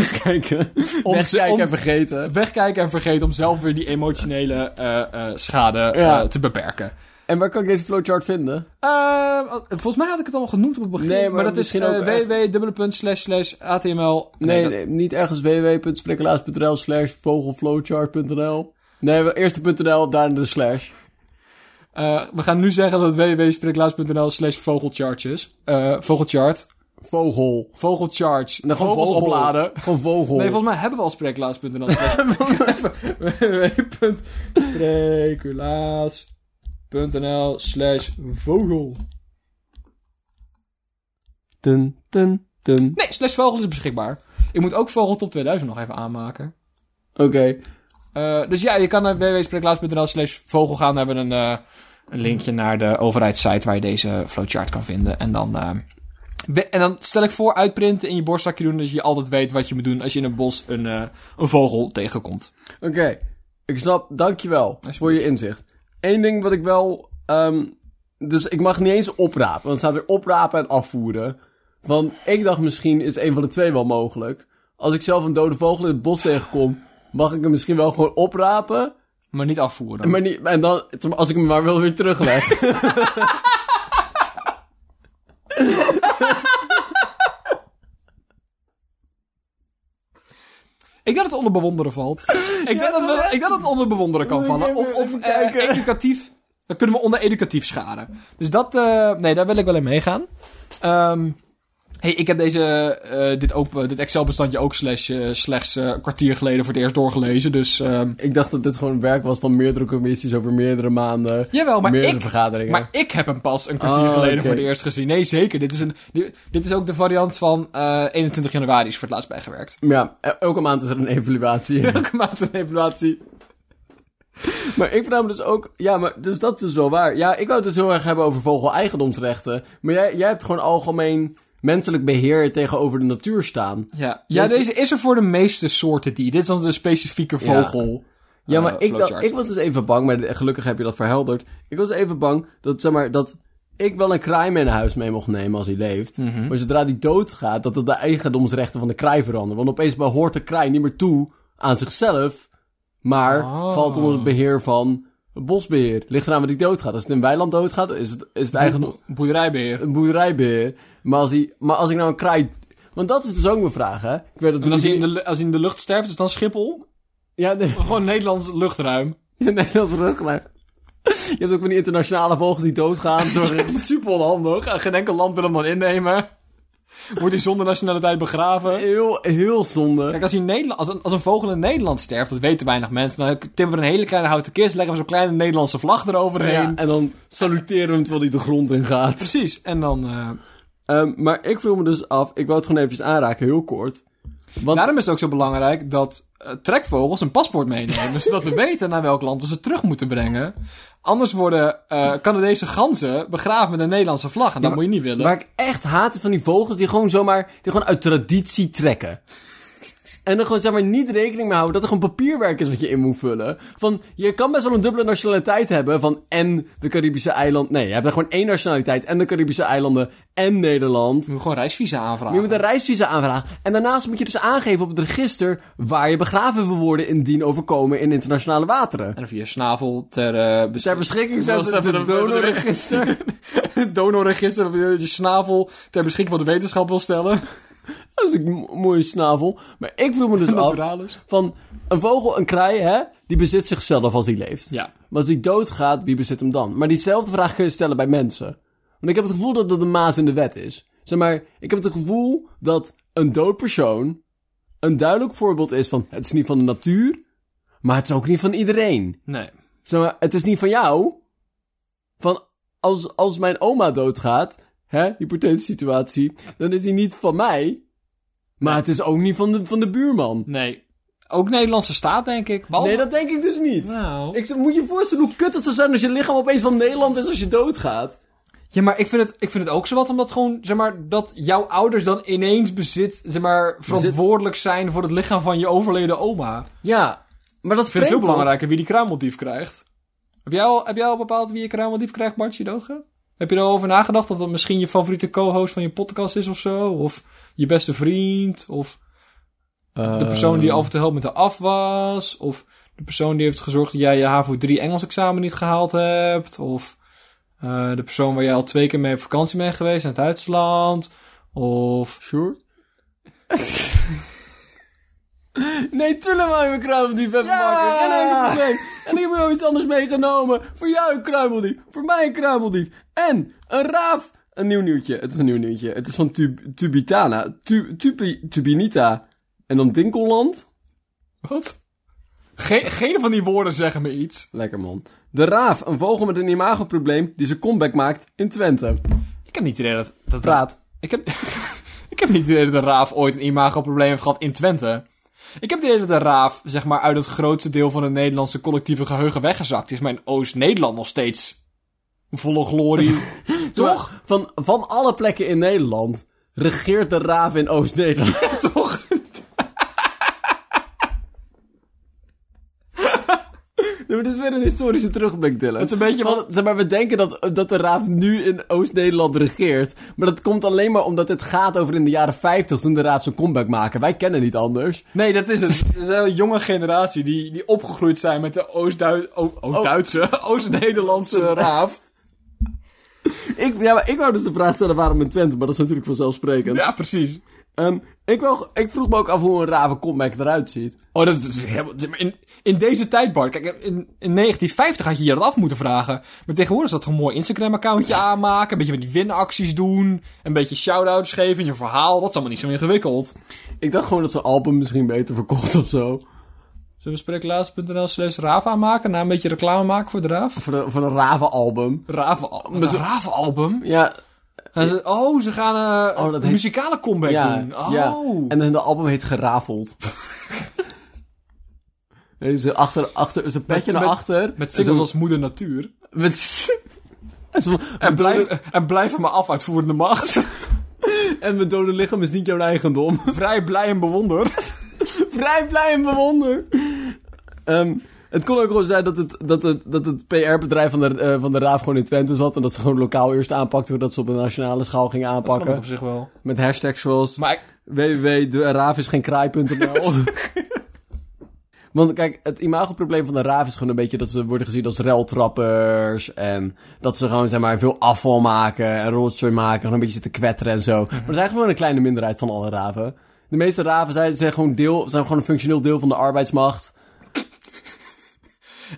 [SPEAKER 1] Wegkijken
[SPEAKER 2] om-
[SPEAKER 1] en vergeten.
[SPEAKER 2] wegkijken en vergeten om zelf weer die emotionele eh, eh, schade
[SPEAKER 1] Ja.
[SPEAKER 2] eh, te beperken.
[SPEAKER 1] En waar kan ik deze flowchart vinden?
[SPEAKER 2] Eh, volgens mij had ik het al genoemd op het begin.
[SPEAKER 1] Nee, maar
[SPEAKER 2] dat is eh,
[SPEAKER 1] misschien ook echt-
[SPEAKER 2] www.atml.
[SPEAKER 1] Nee, nee, niet ergens www.sprikkelaars.nl slash vogelflowchart.nl. Nee, wel eerst de .nl, daarna de slash.
[SPEAKER 2] Eh, we gaan nu zeggen dat het www.spreeklaas.nl slash vogelcharge is. Eh, vogelchart.
[SPEAKER 1] Vogel.
[SPEAKER 2] Vogelcharge.
[SPEAKER 1] En dan gewoon
[SPEAKER 2] Vogels
[SPEAKER 1] vogel.
[SPEAKER 2] opladen.
[SPEAKER 1] Gewoon vogel.
[SPEAKER 2] Nee, volgens mij hebben we al spreeklaas.nl. www.spreeklaas.nl slash vogel.
[SPEAKER 1] Dun, dun, dun.
[SPEAKER 2] Nee, slash vogel is beschikbaar. Ik moet ook Vogel Top 2000 nog even aanmaken.
[SPEAKER 1] Oké.
[SPEAKER 2] Eh, dus ja, je kan naar www.spreeklaas.nl slash vogel gaan. Daar hebben we een, eh, een linkje naar de overheidssite waar je deze flowchart kan vinden. En dan, eh, we- en dan stel ik voor uitprinten in je borstzakje doen. Dat je altijd weet wat je moet doen als je in een bos een, eh, een vogel tegenkomt.
[SPEAKER 1] Oké, ik snap. Dankjewel voor je inzicht. Eén ding wat ik wel... ehm, dus ik mag niet eens oprapen. Want het staat weer oprapen en afvoeren. Want ik dacht misschien is een van de twee wel mogelijk. Als ik zelf een dode vogel in het bos tegenkom... mag ik hem misschien wel gewoon oprapen.
[SPEAKER 2] Maar niet afvoeren.
[SPEAKER 1] Maar niet, en dan, als ik hem maar wil, weer terugleg.
[SPEAKER 2] Ik denk dat het onder bewonderen valt. ik, denk dat we, ik denk dat het onder bewonderen kan
[SPEAKER 1] Moet ik
[SPEAKER 2] vallen.
[SPEAKER 1] even-
[SPEAKER 2] Of, of
[SPEAKER 1] even
[SPEAKER 2] eh,
[SPEAKER 1] kijken.
[SPEAKER 2] educatief. Dat kunnen we onder educatief scharen. Dus dat, eh, nee, daar wil ik wel in meegaan. Ehm, hey, ik heb deze, eh, dit, open- dit Excel-bestandje ook slash, eh, slechts eh, een kwartier geleden voor het eerst doorgelezen. Dus, ehm,
[SPEAKER 1] ik dacht dat dit gewoon werk was van meerdere commissies over meerdere maanden.
[SPEAKER 2] jawel, maar
[SPEAKER 1] meerdere
[SPEAKER 2] ik,
[SPEAKER 1] vergaderingen.
[SPEAKER 2] maar ik heb hem pas een kwartier
[SPEAKER 1] Oh,
[SPEAKER 2] geleden
[SPEAKER 1] oké.
[SPEAKER 2] voor het eerst gezien. Nee, zeker. Dit is, een, dit, dit is ook de variant van eh, 21 januari is voor het laatst bijgewerkt.
[SPEAKER 1] Ja, el- elke maand is er een evaluatie.
[SPEAKER 2] Elke maand een evaluatie.
[SPEAKER 1] Maar ik vraag me dus ook... Ja, maar dus dat is dus wel waar. Ja, ik wou het dus heel erg hebben over vogel-eigendomsrechten. Maar jij, jij hebt gewoon algemeen menselijk beheer tegenover de natuur staan.
[SPEAKER 2] Ja, ja
[SPEAKER 1] Dus-
[SPEAKER 2] deze is er voor de meeste soorten die. Dit is dan de specifieke vogel.
[SPEAKER 1] Ja,
[SPEAKER 2] eh,
[SPEAKER 1] maar ik, dacht,
[SPEAKER 2] flowchart.
[SPEAKER 1] ik was dus even bang, maar de- gelukkig heb je dat verhelderd. Ik was even bang dat, zeg maar, dat ik wel een kraai mee naar huis mee mocht nemen als hij leeft.
[SPEAKER 2] Mhm.
[SPEAKER 1] Maar zodra die doodgaat, dat dat de eigendomsrechten van de kraai veranderen. Want opeens behoort de kraai niet meer toe aan zichzelf, maar
[SPEAKER 2] Oh.
[SPEAKER 1] valt onder het beheer van het bosbeheer. Ligt eraan waar die doodgaat. Als het in weiland doodgaat, is het, is het eigendom
[SPEAKER 2] Boerderijbeheer.
[SPEAKER 1] een boerderijbeheer. Maar als, die, maar als ik nou een kraai... Want dat is dus ook mijn vraag, hè? Ik weet dat
[SPEAKER 2] En als hij, in
[SPEAKER 1] jullie-
[SPEAKER 2] de, lu- als hij in de lucht sterft, is dan Schiphol?
[SPEAKER 1] Ja, nee.
[SPEAKER 2] Of gewoon Nederlands luchtruim?
[SPEAKER 1] Ja, nee, dat is rug, maar... Je hebt ook van die internationale vogels die doodgaan. Zorgen...
[SPEAKER 2] Dat is super onhandig. Geen enkel land wil hem dan innemen. Wordt hij zonder nationaliteit begraven?
[SPEAKER 1] Heel, heel zonde.
[SPEAKER 2] Kijk, als, hij in Nederland, als, een, als een vogel in Nederland sterft, dat weten weinig mensen. Dan timmeren we een hele kleine houten kist, leggen we zo'n kleine Nederlandse vlag eroverheen.
[SPEAKER 1] Ja, en dan saluteren we hem terwijl hij de grond in gaat.
[SPEAKER 2] Precies. En dan... eh,
[SPEAKER 1] Ehm, maar ik vroeg me dus af, ik wou het gewoon eventjes aanraken, heel kort. Want-
[SPEAKER 2] Daarom is het ook zo belangrijk dat eh, trekvogels een paspoort meenemen. zodat we weten naar welk land we ze terug moeten brengen. Anders worden eh Canadese ganzen begraven met een Nederlandse vlag. En dat moet je niet willen.
[SPEAKER 1] Waar ik echt haat is van die vogels die gewoon zomaar die gewoon uit traditie trekken. En er gewoon zeg maar niet rekening mee houden dat er gewoon papierwerk is wat je in moet vullen. Van, je kan best wel een dubbele nationaliteit hebben van en de Caribische eilanden. Nee, je hebt er gewoon één nationaliteit en de Caribische eilanden en Nederland.
[SPEAKER 2] Je moet gewoon reisvisa aanvragen.
[SPEAKER 1] Je moet een reisvisa aanvragen. En daarnaast moet je dus aangeven op het register waar je begraven wil worden indien overkomen in internationale wateren.
[SPEAKER 2] En of je je snavel ter eh bes-
[SPEAKER 1] Ter beschikking
[SPEAKER 2] Dat
[SPEAKER 1] zijn
[SPEAKER 2] is
[SPEAKER 1] we
[SPEAKER 2] even
[SPEAKER 1] het
[SPEAKER 2] een-
[SPEAKER 1] donorregister.
[SPEAKER 2] donorregister, of je je snavel ter beschikking van de wetenschap wil stellen.
[SPEAKER 1] Dat is een mo- mooie snavel. Maar ik vroeg me dus af...
[SPEAKER 2] Naturalis.
[SPEAKER 1] Van een vogel, een kraai, hè? Die bezit zichzelf als die leeft.
[SPEAKER 2] Ja.
[SPEAKER 1] Maar als die doodgaat, wie bezit hem dan? Maar diezelfde vraag kun je stellen bij mensen. Want ik heb het gevoel dat dat een maas in de wet is. Zeg maar, ik heb het gevoel dat een dood persoon een duidelijk voorbeeld is van... Het is niet van de natuur, maar het is ook niet van iedereen.
[SPEAKER 2] Nee.
[SPEAKER 1] Zeg maar, het is niet van jou. Van, als, als mijn oma doodgaat, hè, hypothetische situatie, dan is die niet van mij. Maar het is ook niet van de, van de buurman.
[SPEAKER 2] Nee. Ook Nederlandse staat, denk ik. Behalve-
[SPEAKER 1] Nee, dat denk ik dus niet.
[SPEAKER 2] Nou.
[SPEAKER 1] Ik zeg, moet je je voorstellen hoe kut het zou zijn als je lichaam opeens van Nederland is als je doodgaat?
[SPEAKER 2] Ja, maar ik vind, het, ik vind het ook zo wat, omdat gewoon, zeg maar, dat jouw ouders dan ineens bezit, zeg maar, verantwoordelijk zijn voor het lichaam van je overleden oma. Ik
[SPEAKER 1] Ja, maar dat is
[SPEAKER 2] vind het veel
[SPEAKER 1] vreemd, hoor.
[SPEAKER 2] belangrijker wie die kruimeldief krijgt. Heb jij, al, heb jij al bepaald wie je kruimeldief krijgt, Bart, als je doodgaat? Heb je er al over nagedacht dat dat misschien je favoriete co-host van je podcast is of zo? Of je beste vriend? Of
[SPEAKER 1] Eh,
[SPEAKER 2] de persoon die af en toe helpt met de afwas? Of de persoon die heeft gezorgd dat jij je HAVO 3 Engels examen niet gehaald hebt? Of eh, de persoon waar jij al twee keer mee op vakantie bent geweest in het Duitsland? Of... Sure.
[SPEAKER 1] Nee, tuurlijk maar mijn kruimeldief even
[SPEAKER 2] Ja!
[SPEAKER 1] pakken. En één keer twee. En ik heb wel iets anders meegenomen. Voor jou een kruimeldief. Voor mij een kruimeldief. En een raaf. Een nieuw nieuwtje. Het is een nieuw nieuwtje. Het is van Tub- Tubitana. Tu- Tupi- Tubinita. En dan Dinkelland.
[SPEAKER 2] Wat? Ge geen van die woorden zeggen me iets.
[SPEAKER 1] Lekker man. De raaf. Een vogel met een imagoprobleem die zijn comeback maakt in Twente.
[SPEAKER 2] Ik heb niet het idee dat... dat
[SPEAKER 1] Praat.
[SPEAKER 2] Ik heb, ik heb niet het idee dat de Raaf ooit een imagoprobleem heeft gehad in Twente. Ik heb het idee dat de Raaf, zeg maar, uit het grootste deel van het Nederlandse collectieve geheugen weggezakt is. Maar in Oost-Nederland nog steeds volle glorie. toch?
[SPEAKER 1] Toch? Van, van alle plekken in Nederland regeert de raaf in Oost-Nederland.
[SPEAKER 2] Toch?
[SPEAKER 1] Nee, maar Dit is weer een historische terugblik, Dylan.
[SPEAKER 2] Het is een beetje
[SPEAKER 1] Van-
[SPEAKER 2] wat-
[SPEAKER 1] zeg maar, we denken dat, dat de raaf nu in Oost-Nederland regeert. Maar dat komt alleen maar omdat het gaat over in de jaren 50 toen de raaf zijn comeback maken. Wij kennen niet anders.
[SPEAKER 2] Nee, dat is het. Er is een hele jonge generatie die, die opgegroeid zijn met de Oost-Duit- O- Oost-Duitse, Oost-Nederlandse Raaf.
[SPEAKER 1] Ik, ja, maar ik wou dus de vraag stellen waarom in Twente, maar dat is natuurlijk vanzelfsprekend.
[SPEAKER 2] Ja, precies.
[SPEAKER 1] Ehm, ik, wou, ik vroeg me ook af hoe een raaf een comeback eruit ziet.
[SPEAKER 2] Oh, dat is helemaal... In, in deze tijd, Bart. Kijk, in, in 1950 had je je dat af moeten vragen. Maar tegenwoordig is dat gewoon een mooi Instagram-accountje aanmaken. Een beetje met die winacties doen. Een beetje shout-outs geven in je verhaal. Dat is allemaal niet zo ingewikkeld.
[SPEAKER 1] Ik dacht gewoon dat zijn album misschien beter verkocht of zo.
[SPEAKER 2] Zullen we spreeklaas.nl slash raaf aanmaken? Na een beetje reclame maken voor de raaf?
[SPEAKER 1] Voor, de, voor een ravenalbum.
[SPEAKER 2] Raven... Met een ravenalbum?
[SPEAKER 1] Ja,
[SPEAKER 2] Gaan ze- Oh, ze gaan eh,
[SPEAKER 1] Oh, dat
[SPEAKER 2] een
[SPEAKER 1] heet-
[SPEAKER 2] muzikale comeback doen. Oh.
[SPEAKER 1] En hun album heet Gerafeld. Nee, ze achter, achter, ze petje
[SPEAKER 2] Met-
[SPEAKER 1] naar achter.
[SPEAKER 2] Met
[SPEAKER 1] en
[SPEAKER 2] singles
[SPEAKER 1] zo-
[SPEAKER 2] als moeder natuur.
[SPEAKER 1] Met, en, zo-
[SPEAKER 2] En blijf, en blijf van me af, uitvoerende macht.
[SPEAKER 1] en mijn dode lichaam is niet jouw eigendom.
[SPEAKER 2] Vrij blij en bewonder.
[SPEAKER 1] Vrij blij en bewonder. Ehm, het kon ook gewoon zijn dat het, dat het, dat het PR-bedrijf van, de eh, van de Raaf gewoon in Twente zat. En dat ze gewoon lokaal eerst aanpakten voordat ze op een nationale schaal gingen
[SPEAKER 2] Pakken.
[SPEAKER 1] aanpakken.
[SPEAKER 2] op zich wel.
[SPEAKER 1] Met hashtags zoals
[SPEAKER 2] Maar ik-
[SPEAKER 1] www.deraafisgeenkraai.nl Want kijk, het imagoprobleem van de raaf is gewoon een beetje dat ze worden gezien als reltrappers. En dat ze gewoon, zeg maar, veel afval maken en rotzooi maken. Gewoon een beetje zitten kwetteren en zo. Maar ze zijn gewoon een kleine minderheid van alle raven. De meeste raven zijn, zijn, gewoon, deel, zijn gewoon een functioneel deel van de arbeidsmacht.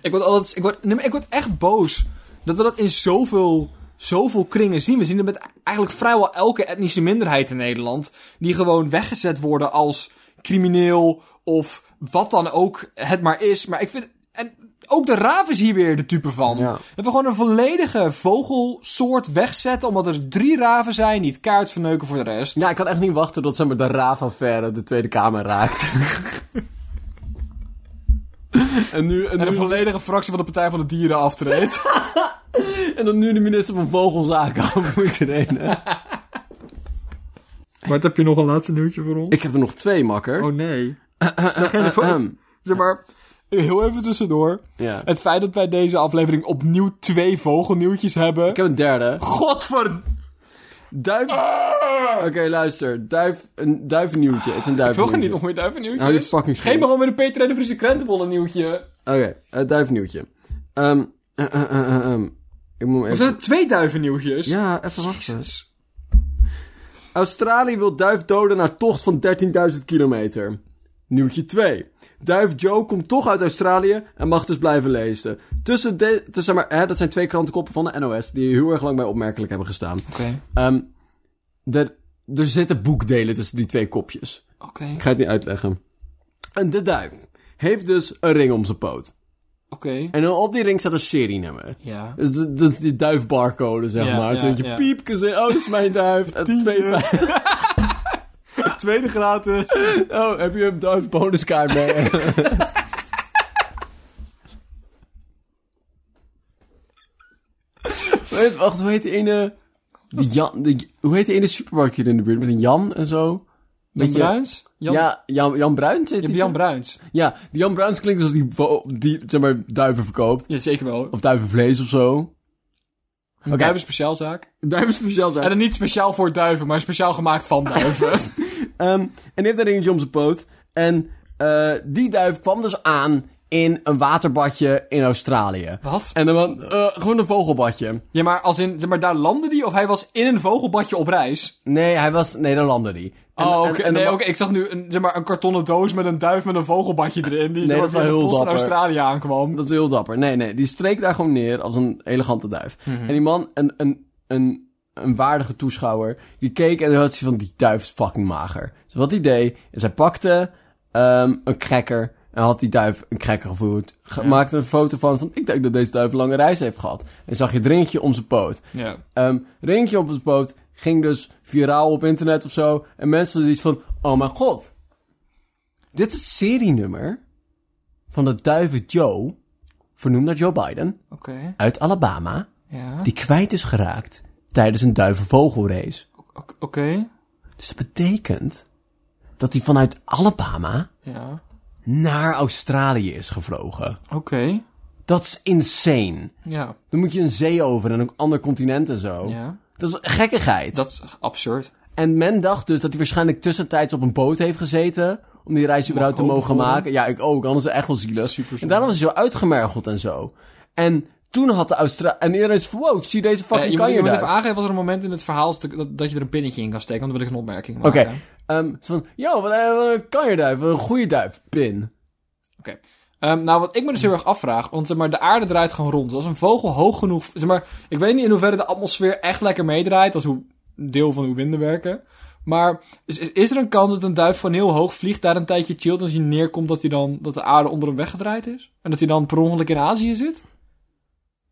[SPEAKER 2] Ik word altijd, ik word, nee, maar ik word echt boos dat we dat in zoveel, zoveel kringen zien. We zien het met eigenlijk vrijwel elke etnische minderheid in Nederland. Die gewoon weggezet worden als crimineel of wat dan ook het maar is. Maar ik vind, En ook de raaf is hier weer de type van.
[SPEAKER 1] Ja.
[SPEAKER 2] Dat we gewoon een volledige vogelsoort wegzetten, omdat er drie raven zijn die het kaart verneuken voor de rest.
[SPEAKER 1] Ja, ik kan echt niet wachten tot zeg maar, de raaf-affaire de Tweede Kamer raakt. en, nu, en,
[SPEAKER 2] En een
[SPEAKER 1] nu,
[SPEAKER 2] volledige fractie van de Partij van de Dieren aftreedt.
[SPEAKER 1] en dan nu de minister van Vogelzaken af moet trainen.
[SPEAKER 3] Bart, heb je nog een laatste nieuwtje voor ons?
[SPEAKER 1] Ik heb er nog twee, makker.
[SPEAKER 3] Oh nee. Zeg jij de fout?
[SPEAKER 1] Ahem.
[SPEAKER 3] Zeg maar,
[SPEAKER 2] Heel even tussendoor.
[SPEAKER 1] Ja.
[SPEAKER 2] Het feit dat wij deze aflevering opnieuw twee vogelnieuwtjes hebben.
[SPEAKER 1] Ik heb een derde.
[SPEAKER 2] Godver...
[SPEAKER 1] Duif... Oké, luister. Duif... Een duivennieuwtje. Het is een duivennieuwtje.
[SPEAKER 2] Ik wil geen niet nog meer duivennieuwtjes.
[SPEAKER 1] Hou je fucking
[SPEAKER 2] Geef
[SPEAKER 1] stil.
[SPEAKER 2] maar gewoon weer een Peter en de Friese krentenbol een nieuwtje.
[SPEAKER 1] Oké, het duivennieuwtje. Ehm, eh, eh, eh, eh, ehm. Ik moet hem
[SPEAKER 2] Er
[SPEAKER 1] even...
[SPEAKER 2] zijn twee duivennieuwtjes.
[SPEAKER 1] Ja, even wachten. Australië wil duif doden na tocht van 13.000 kilometer. Nieuwtje 2. Duif Joe komt toch uit Australië en mag dus blijven lezen. Tussen de, tussen, zeg maar, hè, dat zijn twee krantenkoppen van de NOS die heel erg lang bij opmerkelijk hebben gestaan.
[SPEAKER 2] Oké,
[SPEAKER 1] Ehm, er, er zitten boekdelen tussen die twee kopjes.
[SPEAKER 2] oké.
[SPEAKER 1] Ik ga het niet uitleggen. En de duif heeft dus een ring om zijn poot.
[SPEAKER 2] Oké.
[SPEAKER 1] En op die ring staat een serienummer.
[SPEAKER 2] Ja.
[SPEAKER 1] Dus d- dat is die duifbarcode, zeg
[SPEAKER 2] Ja,
[SPEAKER 1] maar.
[SPEAKER 2] ja,
[SPEAKER 1] Toen denk je,
[SPEAKER 2] ja.
[SPEAKER 1] piepke, zeg, oh, dat is mijn duif. En twee,
[SPEAKER 2] Tweede gratis.
[SPEAKER 1] oh, heb je een duifbonuskaart mee? Weet, wacht, hoe heet die ene... Die Jan, die- hoe heet die ene supermarkt hier in de buurt? Met een Jan en zo?
[SPEAKER 2] Jan
[SPEAKER 1] Beetje-
[SPEAKER 2] Bruins? Jan,
[SPEAKER 1] Ja, Jan, Jan Bruins heet die
[SPEAKER 2] je hebt Jan
[SPEAKER 1] toch?
[SPEAKER 2] Bruins.
[SPEAKER 1] Ja, die Jan Bruins klinkt alsof die, vo- die zeg maar, duiven verkoopt.
[SPEAKER 2] Ja, zeker wel.
[SPEAKER 1] Of duivenvlees of zo.
[SPEAKER 2] Een
[SPEAKER 1] Oké.
[SPEAKER 2] duiven speciaalzaak.
[SPEAKER 1] Duiven speciaal zijn.
[SPEAKER 2] En dan niet speciaal voor duiven, maar speciaal gemaakt van duiven.
[SPEAKER 1] Ehm, en die heeft een ringetje om zijn poot. En eh, die duif kwam dus aan in een waterbadje in Australië.
[SPEAKER 2] Wat?
[SPEAKER 1] En dan eh, gewoon een vogelbadje.
[SPEAKER 2] Ja, maar, als in, maar daar landde die of hij was in een vogelbadje op reis?
[SPEAKER 1] Nee, hij was... Nee, dan landde die. En-
[SPEAKER 2] oh, oké.
[SPEAKER 1] en- en
[SPEAKER 2] nee,
[SPEAKER 1] dan-
[SPEAKER 2] oké, ik zag nu een, zeg maar, een kartonnen doos met een duif met een vogelbadje erin. Die
[SPEAKER 1] Nee,
[SPEAKER 2] zo
[SPEAKER 1] dat is wel
[SPEAKER 2] via de
[SPEAKER 1] heel
[SPEAKER 2] bos in
[SPEAKER 1] dapper.
[SPEAKER 2] Australië aankwam.
[SPEAKER 1] Dat is heel dapper. Nee, nee, die streek daar gewoon neer als een elegante duif. En die man, een, een, een, een waardige toeschouwer, die keek en had hij van, die duif is fucking mager. Dus wat hij deed, is hij pakte ehm, een cracker en had die duif een cracker gevoerd. Ge- Maakte een foto van, van, ik denk dat deze duif een lange reis heeft gehad. En zag je het ringetje om zijn poot.
[SPEAKER 2] Ja.
[SPEAKER 1] Ehm ringetje op zijn poot ging dus viraal op internet of zo. En mensen hadden iets van, oh mijn god. Dit is het serienummer van de duiven Joe, vernoemd naar Joe Biden,
[SPEAKER 2] Oké.
[SPEAKER 1] uit Alabama,
[SPEAKER 2] Ja.
[SPEAKER 1] die kwijt is geraakt tijdens een duivenvogelrace.
[SPEAKER 2] Oké.
[SPEAKER 1] Dus dat betekent dat hij vanuit Alabama
[SPEAKER 2] Ja.
[SPEAKER 1] naar Australië is gevlogen.
[SPEAKER 2] Oké.
[SPEAKER 1] Dat is insane.
[SPEAKER 2] Ja.
[SPEAKER 1] Dan moet je een zee over en een ander continent en zo.
[SPEAKER 2] Ja.
[SPEAKER 1] Dat is gekkigheid.
[SPEAKER 2] Dat is absurd.
[SPEAKER 1] En men dacht dus dat hij waarschijnlijk tussentijds op een boot heeft gezeten. Om die reis überhaupt te
[SPEAKER 2] ook
[SPEAKER 1] mogen
[SPEAKER 2] worden.
[SPEAKER 1] maken. Ja, ik ook. Anders is het echt wel zielig.
[SPEAKER 2] Super zonde.
[SPEAKER 1] en daarom is hij zo uitgemergeld en zo. En toen had de Australië... En iedereen is van, wow, zie deze
[SPEAKER 2] Ja,
[SPEAKER 1] fucking
[SPEAKER 2] Eh, je moet, je
[SPEAKER 1] kanjer
[SPEAKER 2] moet
[SPEAKER 1] daar.
[SPEAKER 2] even aangeven wat er een moment in het verhaal is dat, dat- dat je er een pinnetje in kan steken, want dan wil ik een opmerking
[SPEAKER 1] Oké.
[SPEAKER 2] maken.
[SPEAKER 1] Ehm, zo van, yo, wat eh, wat een kanjerduif. Wat een goede duif. Pin.
[SPEAKER 2] Oké. Ehm, nou, wat ik me dus heel erg afvraag, want zeg maar, de aarde draait gewoon rond. Dus als een vogel hoog genoeg... Zeg maar, ik weet niet in hoeverre de atmosfeer echt lekker meedraait, dat is hoe, deel van hoe winden werken. Maar is, is, is er een kans dat een duif van heel hoog vliegt, daar een tijdje chillt... en als hij neerkomt dat, hij dan, dat de aarde onder hem weggedraaid is? En dat hij dan per ongeluk in Azië zit?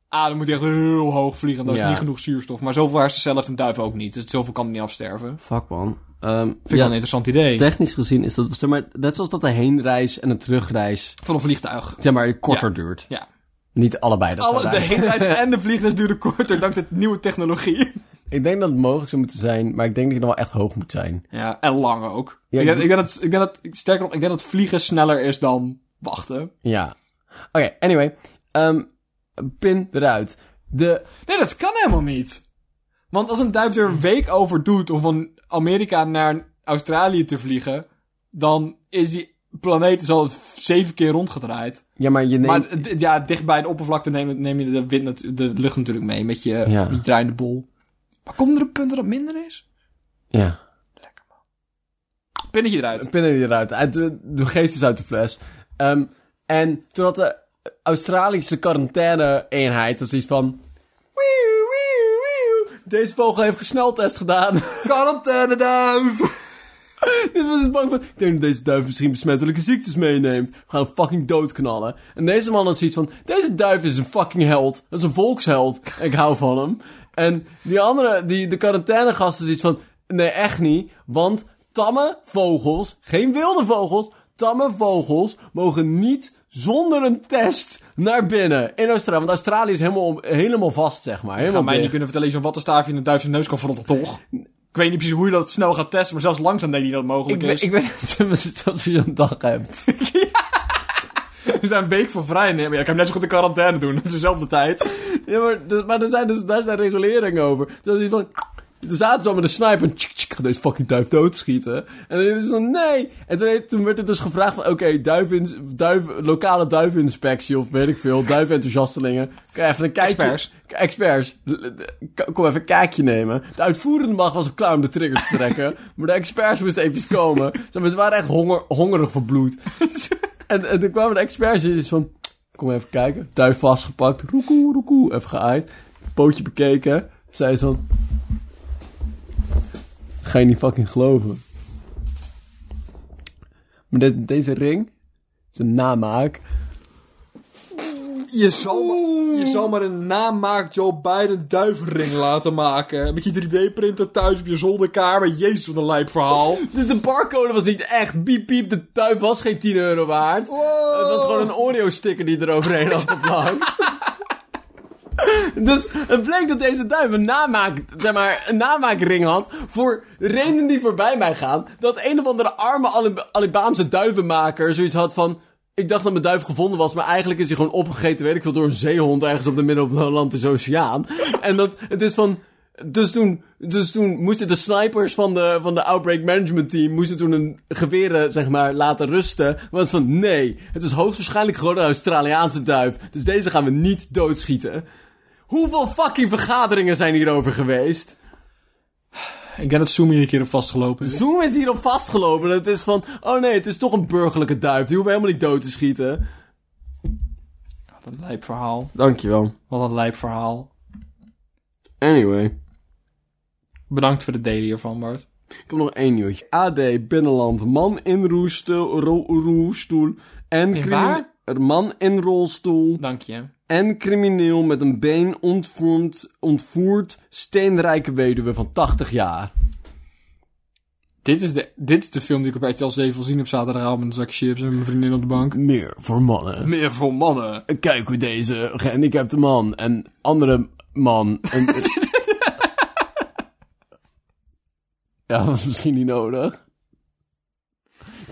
[SPEAKER 2] Ah, dan moet hij echt heel hoog vliegen, dan is
[SPEAKER 1] Ja.
[SPEAKER 2] niet genoeg zuurstof. Maar zoveel hersencellen heeft een duif ook niet, dus zoveel kan hij niet afsterven. Vind
[SPEAKER 1] Fuck, man. Ehm,
[SPEAKER 2] ik wel een interessant idee.
[SPEAKER 1] technisch gezien is dat... Zeg maar, net zoals dat de heenreis en de terugreis...
[SPEAKER 2] Van een vliegtuig.
[SPEAKER 1] Zeg maar, korter duurt.
[SPEAKER 2] Ja.
[SPEAKER 1] Niet allebei. Dat
[SPEAKER 2] Alle,
[SPEAKER 1] zou
[SPEAKER 2] de
[SPEAKER 1] zijn.
[SPEAKER 2] heenreis en de vliegreis duren korter dank de nieuwe technologie.
[SPEAKER 1] Ik denk dat het mogelijk zou moeten zijn. Maar ik denk dat je nog wel echt hoog moet zijn.
[SPEAKER 2] Ja, en lang ook.
[SPEAKER 1] Ja,
[SPEAKER 2] ik, denk,
[SPEAKER 1] ik-
[SPEAKER 2] ik, denk dat, ik denk dat, sterker nog, ik denk dat vliegen sneller is dan wachten.
[SPEAKER 1] Ja. Oké, anyway. Ehm, pin eruit. De,
[SPEAKER 2] Nee, dat kan helemaal niet. Want als een duif er een week over doet om van Amerika naar Australië te vliegen, dan is die planeet dus al zeven keer rondgedraaid.
[SPEAKER 1] ja, maar je neemt...
[SPEAKER 2] Maar d- ja, dicht bij de oppervlakte neem, neem je de, wind, natu- de lucht natuurlijk mee met je,
[SPEAKER 1] Ja.
[SPEAKER 2] met je draaiende bol. Maar komt er een punt dat het minder is?
[SPEAKER 1] ja.
[SPEAKER 2] Pinnetje eruit.
[SPEAKER 1] Pin eruit. Uit de, de geest is uit de fles. Ehm, en toen had de Australische quarantaine-eenheid... Dat is iets van... "Wieuw, wieuw, wieuw. Deze vogel heeft gesneltest gedaan.
[SPEAKER 2] Quarantaine duif!
[SPEAKER 1] Dit was het bang van. Ik denk dat deze duif misschien besmettelijke ziektes meeneemt. We gaan hem fucking doodknallen. En deze man had zoiets van. Deze duif is een fucking held. Dat is een volksheld. En ik hou van hem. En die andere, die, de quarantainegast is iets van. Nee, echt niet. Want tamme vogels, geen wilde vogels, tamme vogels mogen niet zonder een test naar binnen in Australië. Want Australië is helemaal, helemaal vast, zeg maar. Helemaal
[SPEAKER 2] Kan mij niet
[SPEAKER 1] dicht.
[SPEAKER 2] kunnen vertellen, zo'n wattenstaafje in een duif zijn neus kan verrotten, toch? Ik weet niet precies hoe je dat snel gaat testen, maar zelfs langzaam denk ik dat het
[SPEAKER 1] Ik
[SPEAKER 2] mogelijk
[SPEAKER 1] weet,
[SPEAKER 2] is.
[SPEAKER 1] ik weet het tenminste dat je een dag hebt.
[SPEAKER 2] We zijn een week voor vrij. Nee, maar ja, ik kan hem net zo goed in quarantaine doen. Dat is dezelfde tijd.
[SPEAKER 1] Ja, maar, dus, maar er zijn dus, daar zijn reguleringen over. Dus die van... Er zaten zo met een sniper van... Tjik, tjik, ga deze fucking duif doodschieten. En dan is van... Nee! En toen, toen werd er dus gevraagd van... Oké, duivins- duif, lokale duivinspectie of weet ik veel. Duiventhousiastelingen. Kan je even een kijkje...
[SPEAKER 2] Experts.
[SPEAKER 1] K- Experts. L- de- k- Kom even een kijkje nemen. De uitvoerende macht was al klaar om de triggers te trekken. maar de experts moesten even komen. Zo, maar ze waren echt honger, hongerig voor bloed. en, en toen kwamen de experts en die is van... Kom even kijken. Duif vastgepakt. Roekoe, roekoe. Even geaaid. Pootje bekeken. Zei ze van... "Dat Ga je niet fucking geloven. Maar dit- deze ring... is een namaak.
[SPEAKER 4] Je zal, maar, je zal maar een namaak Joe Biden duifring laten maken. Met je 3D-printer thuis op je zolderkamer. Jezus, wat een lijp verhaal.
[SPEAKER 1] Dus de barcode was niet echt. Piep, piep. De duif was geen 10 euro waard.
[SPEAKER 4] Wow.
[SPEAKER 1] Het was gewoon een Oreo-sticker die eroverheen had geplakt. Dus het bleek dat deze duif een, namaak, zeg maar, een namaakring had voor redenen die voorbij mij gaan. Dat een of andere arme Alib- Alibaamse duivenmaker zoiets had van... Ik dacht dat mijn duif gevonden was, maar eigenlijk is hij gewoon opgegeten, weet ik veel, door een zeehond ergens op de midden op de Atlantische Oceaan. En dat, het is van... Dus toen, dus toen moesten de snipers van de, van de Outbreak Management Team moesten toen hun geweren, zeg maar, laten rusten. Maar het is van, nee, het is hoogstwaarschijnlijk gewoon een Australiaanse duif. Dus deze gaan we niet doodschieten. Hoeveel fucking vergaderingen zijn hierover geweest?
[SPEAKER 2] Ik denk dat Zoom hier een keer op vastgelopen is.
[SPEAKER 1] Zoom is hierop vastgelopen. Het is van, oh nee, het is toch een burgerlijke duif. Die hoeven helemaal niet dood te schieten.
[SPEAKER 2] Wat een lijp verhaal.
[SPEAKER 1] Dankjewel.
[SPEAKER 2] Wat een lijp verhaal.
[SPEAKER 1] Anyway.
[SPEAKER 2] Bedankt voor de delen hiervan, Bart.
[SPEAKER 1] Ik heb nog één nieuwtje. AD, binnenland, man in roestoel, ro- roestoel en...
[SPEAKER 2] In
[SPEAKER 1] crimi-
[SPEAKER 2] waar?
[SPEAKER 1] er Man in rolstoel
[SPEAKER 2] Dank je.
[SPEAKER 1] en crimineel met een been ontvoerd, ontvoerd steenrijke weduwe van 80 jaar.
[SPEAKER 2] Dit is, de, dit is de film die ik op RTL 7 wil zien op zaterdagavond met een zak chips en mijn vriendin op de bank.
[SPEAKER 1] Meer voor mannen.
[SPEAKER 2] Meer voor mannen.
[SPEAKER 1] kijk hoe deze gehandicapte man en andere man. En... ja, dat was misschien niet nodig.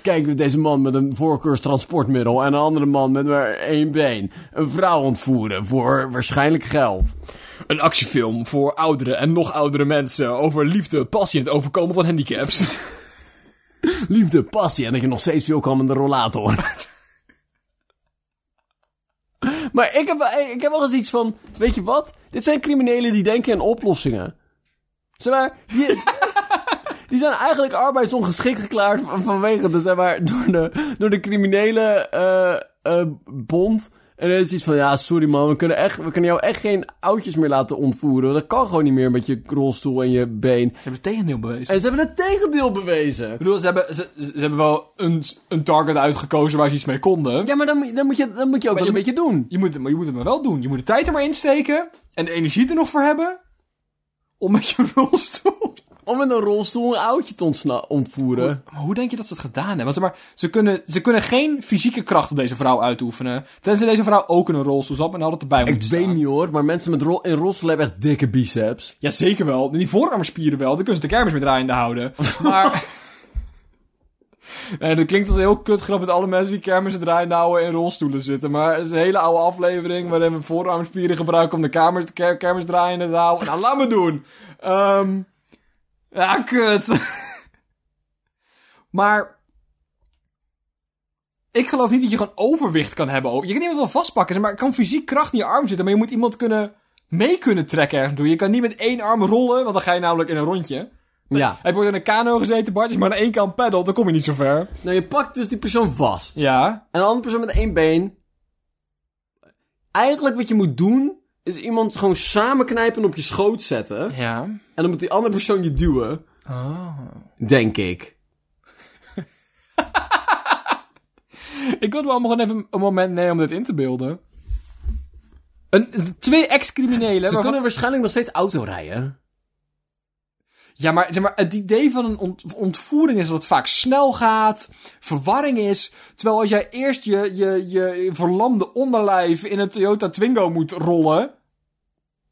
[SPEAKER 1] Kijk hoe deze man met een voorkeurstransportmiddel en een andere man met maar één been. Een vrouw ontvoeren voor waarschijnlijk geld.
[SPEAKER 2] Een actiefilm voor oudere en nog oudere mensen over liefde, passie en het overkomen van handicaps.
[SPEAKER 1] Liefde, passie en dat je nog steeds veel kan met een rollator. maar ik heb, wel- ik heb wel eens iets van, weet je wat? Dit zijn criminelen die denken aan oplossingen. Zeg maar, die, die zijn eigenlijk arbeidsongeschikt verklaard van- vanwege, de, zeg maar, door de, door de criminele eh, eh, bond. En dan is iets van, ja, sorry man, we kunnen, echt, we kunnen jou echt geen oudjes meer laten ontvoeren. Dat kan gewoon niet meer met je rolstoel en je been.
[SPEAKER 2] Ze hebben het tegendeel bewezen.
[SPEAKER 1] En ze hebben het tegendeel bewezen.
[SPEAKER 2] Ik bedoel, ze hebben, ze, ze- ze hebben wel een, een target uitgekozen waar ze iets mee konden.
[SPEAKER 1] Ja, maar dan, moet- dan, moet, je, dan moet je ook
[SPEAKER 2] Maar
[SPEAKER 1] wel een
[SPEAKER 2] je
[SPEAKER 1] beetje doen.
[SPEAKER 2] Je moet, het- maar je moet het maar wel doen. Je moet de tijd er maar insteken. En de energie er nog voor hebben. Om met je rolstoel.
[SPEAKER 1] Om met een rolstoel een oudje te ontsna- ontvoeren.
[SPEAKER 2] Maar hoe denk je dat ze het gedaan hebben? Want zeg maar, ze kunnen, ze kunnen geen fysieke kracht op deze vrouw uitoefenen. Tenzij deze vrouw ook in een rolstoel zat en had het erbij moeten
[SPEAKER 1] Ik weet niet hoor, maar mensen met rol in rolstoel hebben echt dikke biceps.
[SPEAKER 2] Ja, zeker wel. Die voorarmspieren wel. Daar kunnen ze de kermis mee draaiende houden. Maar... Nee, dat klinkt als een heel kut grap met alle mensen die kermissen draaiende houden en in rolstoelen zitten. Maar het is een hele oude aflevering waarin we voorarmspieren gebruiken om de kermis, ker- kermis draaiende te houden. Nou, laat me doen. Ehm ja, kut. maar... Ik geloof niet dat je gewoon overwicht kan hebben. Je kan iemand wel vastpakken, zeg maar er kan fysiek kracht in je arm zitten. Maar je moet iemand kunnen mee kunnen trekken ergens toe. Je kan niet met één arm rollen, want dan ga je namelijk in een rondje.
[SPEAKER 1] Ja.
[SPEAKER 2] Heb je ooit in een kano gezeten, Bart? Als je maar aan één kant peddelt, dan kom je niet zo ver.
[SPEAKER 1] Nou, je pakt dus die persoon vast.
[SPEAKER 2] Ja.
[SPEAKER 1] En een andere persoon met één been. Eigenlijk wat je moet doen, is iemand gewoon samenknijpen en op je schoot zetten.
[SPEAKER 2] Ja.
[SPEAKER 1] En dan moet die andere persoon je duwen.
[SPEAKER 2] Oh.
[SPEAKER 1] Denk ik.
[SPEAKER 2] Ik wilde wel gewoon even een moment nemen om dit in te beelden. Een, twee ex-criminelen.
[SPEAKER 1] Ze
[SPEAKER 2] waarvan-
[SPEAKER 1] kunnen waarschijnlijk nog steeds auto rijden.
[SPEAKER 2] Ja, maar, zeg maar het idee van een ont- ontvoering is dat het vaak snel gaat, verwarring is. Terwijl als jij eerst je, je, je verlamde onderlijf in een Toyota Twingo moet rollen.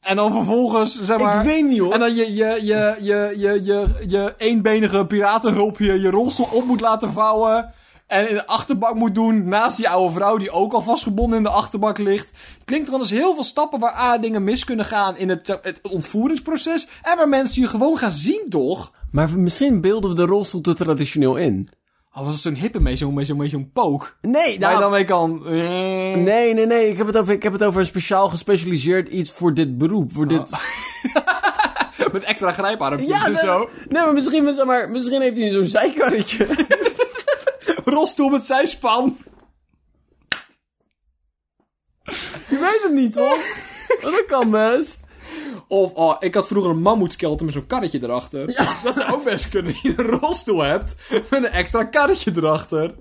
[SPEAKER 2] En dan vervolgens, zeg maar.
[SPEAKER 1] Ik weet niet hoor.
[SPEAKER 2] En dan je, je, je, je, je, je, je eenbenige piratenhulpje je rolstoel op moet laten vouwen. En in de achterbak moet doen naast die oude vrouw die ook al vastgebonden in de achterbak ligt. Klinkt er anders heel veel stappen waar A dingen mis kunnen gaan in het, het ontvoeringsproces. En waar mensen je gewoon gaan zien, toch?
[SPEAKER 1] Maar misschien beelden we de rolstoel te traditioneel in.
[SPEAKER 2] Oh, was dat zo'n hippe mee, zo'n beetje zo'n, zo'n pook.
[SPEAKER 1] Nee,
[SPEAKER 2] Waar
[SPEAKER 1] nou...
[SPEAKER 2] je dan mee kan... eh,
[SPEAKER 1] Nee, nee, nee. Ik heb, het over, ik heb het over een speciaal gespecialiseerd iets voor dit beroep. Voor dit...
[SPEAKER 2] Met extra grijparmpjes
[SPEAKER 1] Ja,
[SPEAKER 2] en
[SPEAKER 1] nee,
[SPEAKER 2] Oh, zo.
[SPEAKER 1] nee, maar misschien, zeg maar misschien heeft hij zo'n zijkarretje.
[SPEAKER 2] Rolstoel met zijspan.
[SPEAKER 1] Je weet het niet, hoor. Dat kan best.
[SPEAKER 2] Of, oh, ik had vroeger een mammoetskelter met zo'n karretje erachter. Dus Dat zou ook best kunnen. Je een rolstoel hebt met een extra karretje erachter.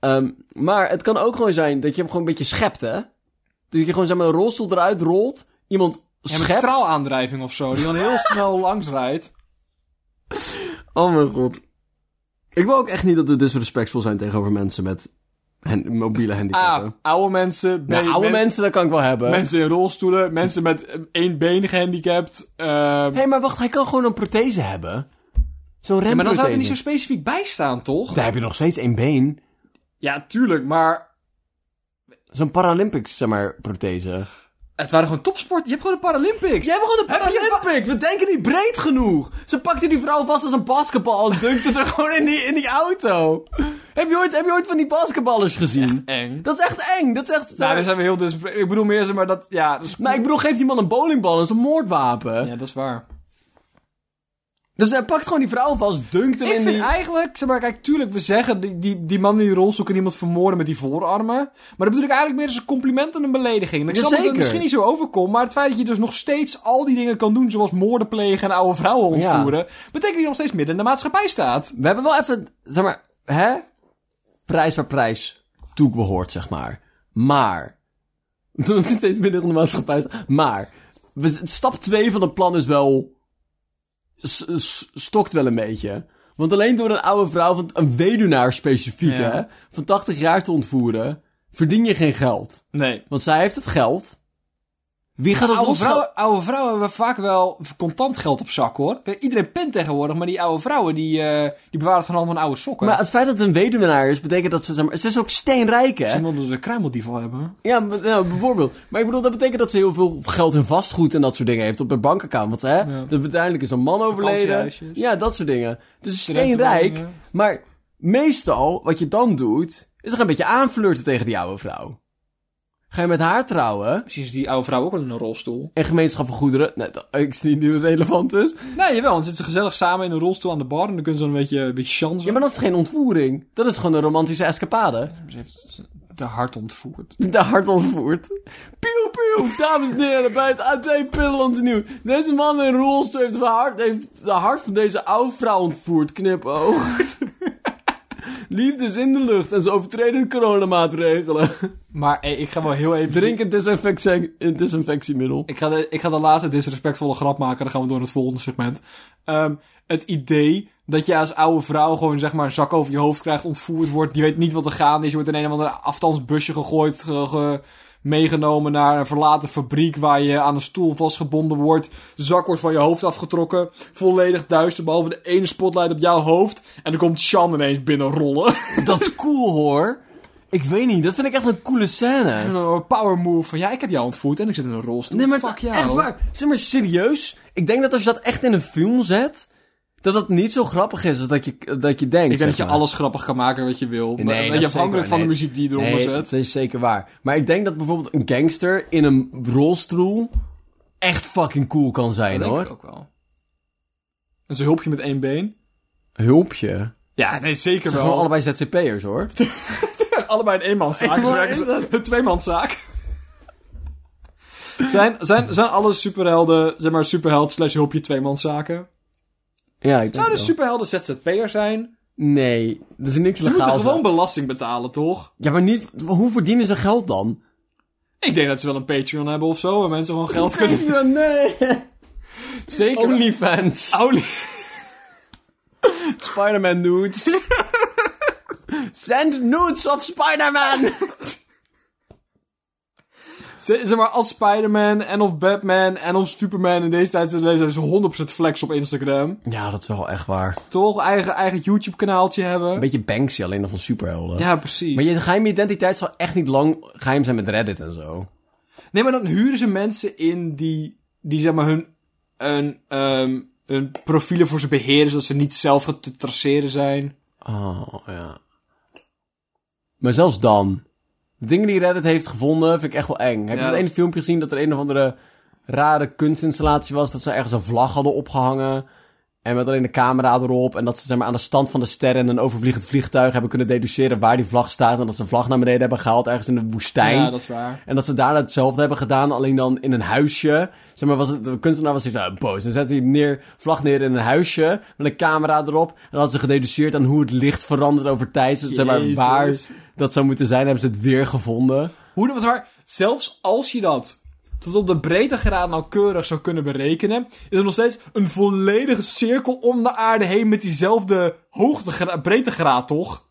[SPEAKER 1] Ehm, maar het kan ook gewoon zijn dat je hem gewoon een beetje schept, hè? Dus je gewoon zeg maar, een rolstoel eruit rolt, iemand
[SPEAKER 2] Ja, met
[SPEAKER 1] schept.
[SPEAKER 2] straalaandrijving of zo. Die dan heel snel langs rijdt.
[SPEAKER 1] Oh mijn god. Ik wil ook echt niet dat we disrespectvol zijn tegenover mensen met hen- mobiele
[SPEAKER 2] Ah,
[SPEAKER 1] handicappen.
[SPEAKER 2] oude mensen. B,
[SPEAKER 1] nou, oude
[SPEAKER 2] men-
[SPEAKER 1] mensen, dat kan ik wel hebben.
[SPEAKER 2] Mensen in rolstoelen. Mensen met eh, één been gehandicapt. ehm.
[SPEAKER 1] Hé, hey, maar wacht, hij kan gewoon een prothese hebben. Zo'n remprothese.
[SPEAKER 2] Ja, maar dan zou het er niet zo specifiek bij staan, toch?
[SPEAKER 1] Daar heb je nog steeds één been.
[SPEAKER 2] Ja, tuurlijk, maar...
[SPEAKER 1] Zo'n Paralympics, zeg maar, prothese.
[SPEAKER 2] Het waren gewoon topsport. Je hebt gewoon de Paralympics.
[SPEAKER 1] Jij hebt gewoon de
[SPEAKER 2] Heb je
[SPEAKER 1] Paralympics. We denken niet breed genoeg. Ze pakte die vrouw vast als een basketbal en dunkte er gewoon in die, in die auto. Heb je, ooit, heb je ooit van die basketballers gezien?
[SPEAKER 2] Eng.
[SPEAKER 1] Dat is echt eng. Dat is echt...
[SPEAKER 2] Nou, daar zijn we heel... Dus, ik bedoel meer, zeg maar, dat... Ja, dat is...
[SPEAKER 1] Maar ik bedoel, geef die man een bowlingbal als een moordwapen.
[SPEAKER 2] Ja, dat is waar.
[SPEAKER 1] Dus hij pakt gewoon die vrouw vast, dunkt hem
[SPEAKER 2] Ik
[SPEAKER 1] in
[SPEAKER 2] vind
[SPEAKER 1] die...
[SPEAKER 2] eigenlijk, zeg maar, kijk, tuurlijk, we zeggen die, die, die man in die rolstoel kan iemand vermoorden met die voorarmen. Maar dat bedoel ik eigenlijk meer als een compliment en een belediging. En Ik
[SPEAKER 1] Ja,
[SPEAKER 2] snap dat het
[SPEAKER 1] zeker.
[SPEAKER 2] misschien niet zo overkomt, maar het feit dat je dus nog steeds al die dingen kan doen, zoals moorden plegen en oude vrouwen ontvoeren, betekent dat je nog steeds midden in de maatschappij staat.
[SPEAKER 1] We hebben wel even, zeg maar, hè? Prijs waar prijs toe behoort, zeg maar. Maar. Dat is steeds minder in de maatschappij. staat. Maar. we- Stap 2 van het plan is wel. s- s- Stokt wel een beetje. Want alleen door een oude vrouw, van een weduwnaar specifiek,
[SPEAKER 2] Ja.
[SPEAKER 1] hè, van 80 jaar te ontvoeren, verdien je geen geld.
[SPEAKER 2] Nee.
[SPEAKER 1] Want zij heeft het geld. Wie gaat het
[SPEAKER 2] Oude
[SPEAKER 1] losgel-
[SPEAKER 2] vrouwen, oude vrouwen hebben vaak wel contant geld op zak, hoor. Kijk, Iedereen pint tegenwoordig, maar die oude vrouwen, die, eh, die bewaren het gewoon allemaal in oude sokken.
[SPEAKER 1] Maar het feit dat het een weduwnaar is, betekent dat ze, zeg maar, ze is ook steenrijk, hè?
[SPEAKER 2] Ze wilden de kruimeldievel hebben.
[SPEAKER 1] Ja, maar- nou, bijvoorbeeld. Maar ik bedoel, dat betekent dat ze heel veel geld in vastgoed en dat soort dingen heeft op haar bankaccount. Want hè, dat uiteindelijk is een man overleden.
[SPEAKER 2] Vakantiehuisjes.
[SPEAKER 1] Ja, dat soort dingen. Dus steenrijk.
[SPEAKER 2] Studentenwoningen.
[SPEAKER 1] Maar meestal, wat je dan doet, is er een beetje aanflirten tegen die oude vrouw. Ga je met haar trouwen
[SPEAKER 2] Misschien is die oude vrouw ook al in een rolstoel.
[SPEAKER 1] en gemeenschap van goederen. Nee, dat, ik zie niet hoe relevant is.
[SPEAKER 2] Nee, jawel. Dan zitten ze gezellig samen in een rolstoel aan de bar en dan kunnen ze dan een beetje, een beetje chansen.
[SPEAKER 1] Ja, maar dat is geen ontvoering. Dat is gewoon een romantische escapade.
[SPEAKER 2] Ze heeft de hart ontvoerd.
[SPEAKER 1] de hart ontvoert. Pieuw, pieuw, dames en heren, bij het AT Pillenlandse Nieuws. Deze man in een rolstoel heeft, de hart- heeft de hart van deze oude vrouw ontvoerd, knipoog. Liefde is in de lucht en ze overtreden de coronamaatregelen.
[SPEAKER 2] Maar hey, ik ga wel heel even...
[SPEAKER 1] Drink een desinfectie- een desinfectiemiddel.
[SPEAKER 2] Ik ga, de, ik ga de laatste disrespectvolle grap maken. Dan gaan we door naar het volgende segment. Ehm, het idee dat je als oude vrouw gewoon zeg maar een zak over je hoofd krijgt, ontvoerd wordt. Je weet niet wat er gaande is. Je wordt in een of ander afstandsbusje gegooid, ge- ge- meegenomen naar een verlaten fabriek waar je aan een stoel vastgebonden wordt. De zak wordt van je hoofd afgetrokken. Volledig duister, behalve de ene spotlight op jouw hoofd. En dan komt Sean ineens binnenrollen.
[SPEAKER 1] Dat is cool hoor. Ik weet niet, dat vind ik echt een coole
[SPEAKER 2] En
[SPEAKER 1] scène.
[SPEAKER 2] dan een power move van ja, ik heb jou ontvoerd en ik zit in een rolstoel.
[SPEAKER 1] Nee, maar
[SPEAKER 2] Fuck jou.
[SPEAKER 1] echt waar. Zeg maar serieus. Ik denk dat als je dat echt in een film zet, dat dat niet zo grappig is als dat je, dat je denkt.
[SPEAKER 2] Ik denk dat
[SPEAKER 1] zeg
[SPEAKER 2] je
[SPEAKER 1] maar.
[SPEAKER 2] alles grappig kan maken wat je wil.
[SPEAKER 1] Nee,
[SPEAKER 2] maar
[SPEAKER 1] dat
[SPEAKER 2] dat je
[SPEAKER 1] zeker,
[SPEAKER 2] afhankelijk van
[SPEAKER 1] nee.
[SPEAKER 2] de muziek die je eronder
[SPEAKER 1] Nee,
[SPEAKER 2] zet.
[SPEAKER 1] dat is zeker waar. Maar ik denk dat bijvoorbeeld een gangster in een rolstoel echt fucking cool kan zijn,
[SPEAKER 2] denk ik
[SPEAKER 1] hoor.
[SPEAKER 2] ook wel. En ze hulp je met één been.
[SPEAKER 1] Hulpje.
[SPEAKER 2] Ja, nee,
[SPEAKER 1] Ze
[SPEAKER 2] zeker
[SPEAKER 1] zijn
[SPEAKER 2] wel.
[SPEAKER 1] gewoon allebei ZZP'ers, hoor.
[SPEAKER 2] allebei een eenmanszaak.
[SPEAKER 1] Waar
[SPEAKER 2] Ze werken
[SPEAKER 1] is
[SPEAKER 2] ze- Een tweemanszaak. zijn, zijn, zijn alle superhelden, zeg maar, superheld slash hulpje tweemanszaken?
[SPEAKER 1] Ja, ik denk
[SPEAKER 2] Zouden
[SPEAKER 1] wel.
[SPEAKER 2] superhelden ZZP'er zijn?
[SPEAKER 1] Nee, er is niks
[SPEAKER 4] Ze moeten
[SPEAKER 1] legaals.
[SPEAKER 4] gewoon
[SPEAKER 1] aan.
[SPEAKER 4] belasting betalen, toch?
[SPEAKER 1] Ja, maar niet... Hoe verdienen ze geld dan?
[SPEAKER 4] Ik denk dat ze wel een Patreon hebben of zo, waar mensen gewoon geld kunnen...
[SPEAKER 1] Nee.
[SPEAKER 4] Zeker...
[SPEAKER 1] Onlyfans.
[SPEAKER 4] Only-
[SPEAKER 1] Spider-Man nudes. Send nudes of Spider-Man.
[SPEAKER 4] Z- Zeg maar, als Spider-Man en of Batman en of Superman in deze tijd zijn leven zijn ze 100% flex op Instagram.
[SPEAKER 1] Ja, dat is wel echt waar.
[SPEAKER 4] Toch? Eigen, eigen YouTube-kanaaltje hebben.
[SPEAKER 1] Een beetje Banksy alleen nog van superhelden.
[SPEAKER 4] Ja, precies.
[SPEAKER 1] Maar je geheime identiteit zal echt niet lang geheim zijn met Reddit en zo.
[SPEAKER 4] Nee, maar dan huren ze mensen in die, die zeg maar hun, hun, ehm, hun profielen voor ze beheren, zodat ze niet zelf te traceren zijn.
[SPEAKER 1] Oh, ja. Maar zelfs dan. De dingen die Reddit heeft gevonden vind ik echt wel eng. Heb
[SPEAKER 4] Ja,
[SPEAKER 1] je dat
[SPEAKER 4] dat
[SPEAKER 1] ene
[SPEAKER 4] is-
[SPEAKER 1] filmpje gezien dat er een of andere rare kunstinstallatie was? Dat ze ergens een vlag hadden opgehangen. En met alleen de camera erop. En dat ze zeg maar, aan de stand van de sterren en een overvliegend vliegtuig hebben kunnen deduceren waar die vlag staat. En dat ze een vlag naar beneden hebben gehaald ergens in de woestijn.
[SPEAKER 4] Ja, dat is waar.
[SPEAKER 1] En dat ze daarna hetzelfde hebben gedaan, alleen dan in een huisje. Zeg maar, was het, de kunstenaar was iets een post. Dan zette hij hem neer, vlag neer in een huisje, met een camera erop. En dan had ze gededuceerd aan hoe het licht verandert over tijd. Zeg maar, waar
[SPEAKER 4] Jezus.
[SPEAKER 1] dat zou moeten zijn, hebben ze het weer gevonden.
[SPEAKER 4] Hoe dat waar, zelfs als je dat tot op de breedtegraad nauwkeurig zou kunnen berekenen, is er nog steeds een volledige cirkel om de aarde heen met diezelfde hoogtegra- breedtegraad, toch?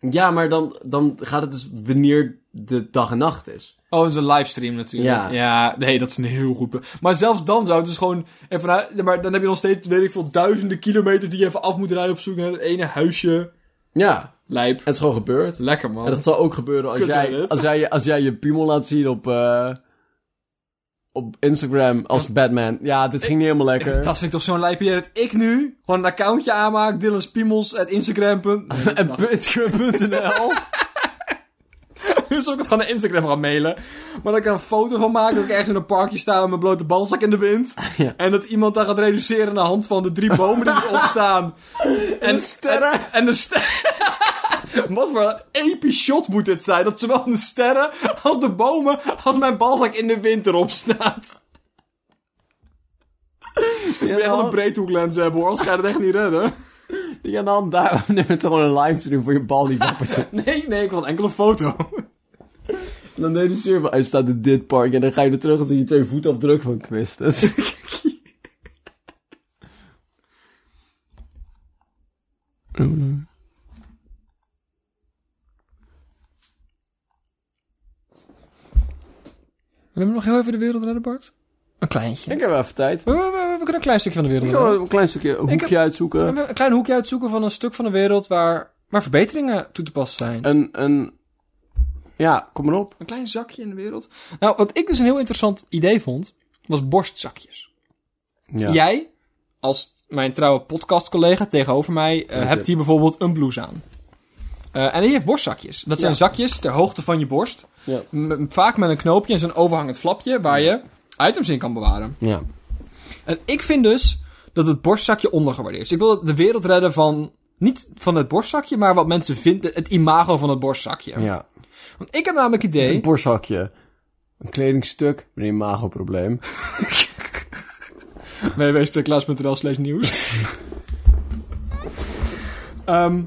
[SPEAKER 1] Ja, maar dan, dan gaat het dus wanneer de dag en nacht is.
[SPEAKER 4] Oh, het is een livestream natuurlijk.
[SPEAKER 1] Ja.
[SPEAKER 4] nee, dat is een heel goed punt. Maar zelfs dan zou het dus gewoon... En vanuit, ja, maar dan heb je nog steeds, weet ik veel, duizenden kilometers die je even af moet rijden op zoek naar het ene huisje.
[SPEAKER 1] Ja,
[SPEAKER 4] Lijp.
[SPEAKER 1] het is gewoon gebeurd.
[SPEAKER 4] Lekker,
[SPEAKER 1] En
[SPEAKER 4] man.
[SPEAKER 1] dat zal ook gebeuren als
[SPEAKER 4] Kut,
[SPEAKER 1] jij,
[SPEAKER 4] Reddit.
[SPEAKER 1] als, jij, als jij je piemel laat zien op, eh, op Instagram als Batman. Ja, dit ging niet helemaal lekker.
[SPEAKER 4] Dat vind ik toch zo'n lijp idee dat ik nu gewoon een accountje aanmaak. Dylan's Piemels, at Instagram. punt- Nee,
[SPEAKER 1] En Patreon.nl.
[SPEAKER 4] Nu zal ik het gewoon naar Instagram gaan mailen. Maar dat ik er een foto van maak. Dat ik ergens in een parkje sta met mijn blote balzak in de wind.
[SPEAKER 1] Ja.
[SPEAKER 4] En dat iemand daar gaat reduceren aan de hand van de drie bomen die erop staan. En de sterren. En, en de sterren. Wat voor een episch shot moet dit zijn. Dat zowel de sterren als de bomen als mijn balzak in de wind erop staat. Ik wil wel een breedhoeklens hebben hoor, anders ga je dat echt niet redden.
[SPEAKER 1] Die gaan dan daar neem het gewoon een livestream voor je bal die wappert.
[SPEAKER 4] Nee, nee, ik wil een enkele foto.
[SPEAKER 1] En dan realiseer je, hij staat in dit park en dan ga je er terug en zie je twee voetafdruk van kwist. Dat is-
[SPEAKER 2] We hebben nog heel even de wereld redden, Bart. Een kleintje.
[SPEAKER 1] Ik heb even tijd.
[SPEAKER 2] We, we- we- we kunnen een klein stukje van de wereld
[SPEAKER 1] Ik ga
[SPEAKER 2] redden.
[SPEAKER 1] een klein stukje een
[SPEAKER 2] heb-
[SPEAKER 1] hoekje
[SPEAKER 2] We
[SPEAKER 1] uitzoeken.
[SPEAKER 2] hebben een klein hoekje uitzoeken van een stuk van de wereld waar, waar verbeteringen toe te passen zijn.
[SPEAKER 1] Een, een... Ja, kom maar op.
[SPEAKER 2] Een klein zakje in de wereld. Nou, wat ik dus een heel interessant idee vond, was borstzakjes.
[SPEAKER 1] Ja.
[SPEAKER 2] Jij, als mijn trouwe podcastcollega tegenover mij, eh, hebt hier bijvoorbeeld een blouse aan. Eh, en die heeft borstzakjes. Dat zijn
[SPEAKER 1] Ja.
[SPEAKER 2] zakjes ter hoogte van je borst.
[SPEAKER 1] Ja.
[SPEAKER 2] M- vaak met een knoopje en zo'n overhangend flapje waar je items in kan bewaren.
[SPEAKER 1] Ja.
[SPEAKER 2] En ik vind dus dat het borstzakje ondergewaardeerd is. Ik wil de wereld redden van, niet van het borstzakje, maar wat mensen vinden, het imago van het borstzakje.
[SPEAKER 1] ja.
[SPEAKER 2] Want ik heb namelijk het idee...
[SPEAKER 1] Een borstzakje. Een kledingstuk. Meneer Mago-probleem.
[SPEAKER 4] www.spreeklaas.nl slash nieuws. Ehm,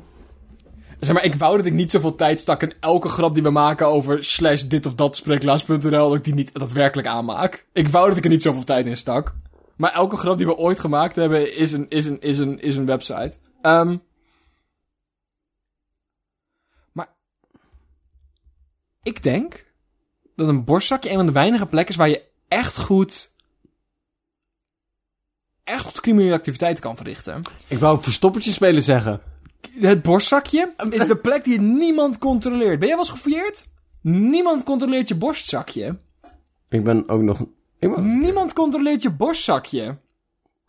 [SPEAKER 4] zeg maar, ik wou dat ik niet zoveel tijd stak in elke grap die we maken over slash dit of dat spreeklaas.nl, dat ik die niet daadwerkelijk aanmaak. Ik wou dat ik er niet zoveel tijd in stak. Maar elke grap die we ooit gemaakt hebben is een, is een, is een, is een website. Ehm,
[SPEAKER 2] Ik denk dat een borstzakje een van de weinige plekken is waar je echt goed. echt goed criminele activiteiten kan verrichten.
[SPEAKER 1] Ik wou verstoppertje spelen zeggen.
[SPEAKER 2] Het borstzakje is de plek die niemand controleert. Ben jij wel eens gefouilleerd? Niemand controleert je borstzakje.
[SPEAKER 1] Ik ben ook nog... Ik ben...
[SPEAKER 2] Niemand controleert je borstzakje.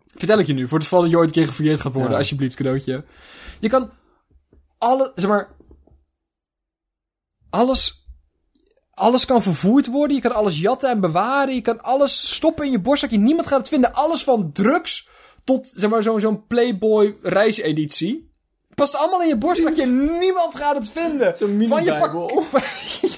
[SPEAKER 2] Vertel ik je nu, voor het geval dat je ooit een keer gefouilleerd gaat worden,
[SPEAKER 1] Ja.
[SPEAKER 2] alsjeblieft, cadeautje. Je kan alle, zeg maar, alles, alles kan vervoerd worden. Je kan alles jatten en bewaren. Je kan alles stoppen in je borstzakje. Niemand gaat het vinden. Alles van drugs tot, zeg maar, zo'n zo'n Playboy reiseditie. Past allemaal in je borstzakje. Niemand gaat het vinden.
[SPEAKER 5] Zo'n mini
[SPEAKER 2] Van je
[SPEAKER 5] Bijbel.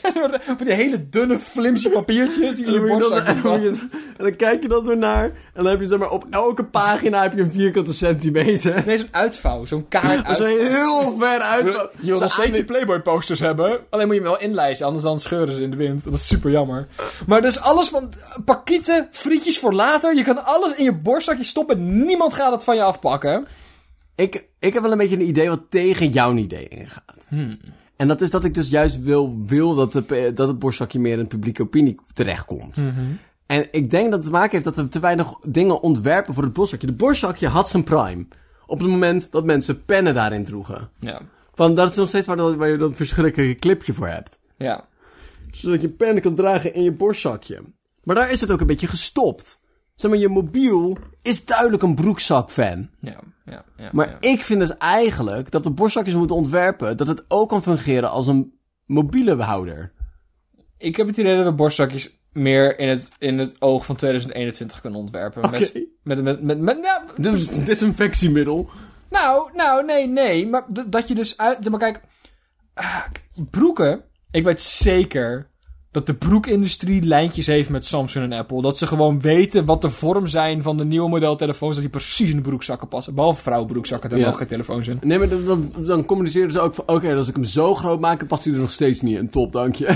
[SPEAKER 2] Ja, zo'n- van die hele dunne, flimsy papiertjes die in
[SPEAKER 1] En
[SPEAKER 2] je
[SPEAKER 1] dan, moet je dat,
[SPEAKER 2] borstzak
[SPEAKER 1] en, dan moet
[SPEAKER 2] verpakt.
[SPEAKER 1] je het- en dan kijk je dat zo naar. En dan heb je zeg maar op elke pagina heb je een vierkante centimeter.
[SPEAKER 2] Nee, zo'n uitvouw. Zo'n kaart
[SPEAKER 1] Dat is
[SPEAKER 2] uitvouw.
[SPEAKER 1] heel ver uit.
[SPEAKER 2] Je wil nog steeds die Playboy-posters hebben. Alleen moet je hem wel inlijsten, anders dan scheuren ze in de wind. Dat is super jammer. Maar dus alles van pakieten, frietjes voor later. Je kan alles in je borstzakje stoppen. Niemand gaat het van je afpakken.
[SPEAKER 1] Ik, ik heb wel een beetje een idee wat tegen jouw idee ingaat.
[SPEAKER 2] Hmm.
[SPEAKER 1] En dat is dat ik dus juist wil, wil dat, de, p- dat het borstzakje meer in de publieke opinie terechtkomt.
[SPEAKER 2] Mhm.
[SPEAKER 1] En ik denk dat het te maken heeft dat we te weinig dingen ontwerpen voor het borstzakje. De borstzakje had zijn prime. Op het moment dat mensen pennen daarin droegen.
[SPEAKER 2] Ja.
[SPEAKER 1] Want dat is nog steeds waar, dat, waar je dat verschrikkelijke clipje voor hebt.
[SPEAKER 2] Ja.
[SPEAKER 1] Zodat je pen kan dragen in je borstzakje. Maar daar is het ook een beetje gestopt. Zeg maar, je mobiel is duidelijk een broekzakfan.
[SPEAKER 2] Ja. Ja. ja
[SPEAKER 1] Maar ik vind dus eigenlijk dat de borstzakjes moeten ontwerpen dat het ook kan fungeren als een mobiele behouder.
[SPEAKER 2] Ik heb het idee dat we borstzakjes meer in het, in het oog van 2021 kunnen ontwerpen.
[SPEAKER 1] Oké.
[SPEAKER 2] Met, met, met, met, nou,
[SPEAKER 1] Dus desinfectiemiddel.
[SPEAKER 2] nou, nou, nee, nee. Maar d- dat je dus uit... Maar kijk, ah, k- broeken... Ik weet zeker dat de broekindustrie lijntjes heeft met Samsung en Apple. Dat ze gewoon weten wat de vorm zijn van de nieuwe modeltelefoons. Dat die precies in de broekzakken passen. Behalve vrouwenbroekzakken, daar
[SPEAKER 1] Ja.
[SPEAKER 2] mogen geen telefoons in.
[SPEAKER 1] Nee, maar dan, dan, dan communiceren ze ook van, oké, als ik hem zo groot maak, dan past hij er nog steeds niet in. Top, dank je.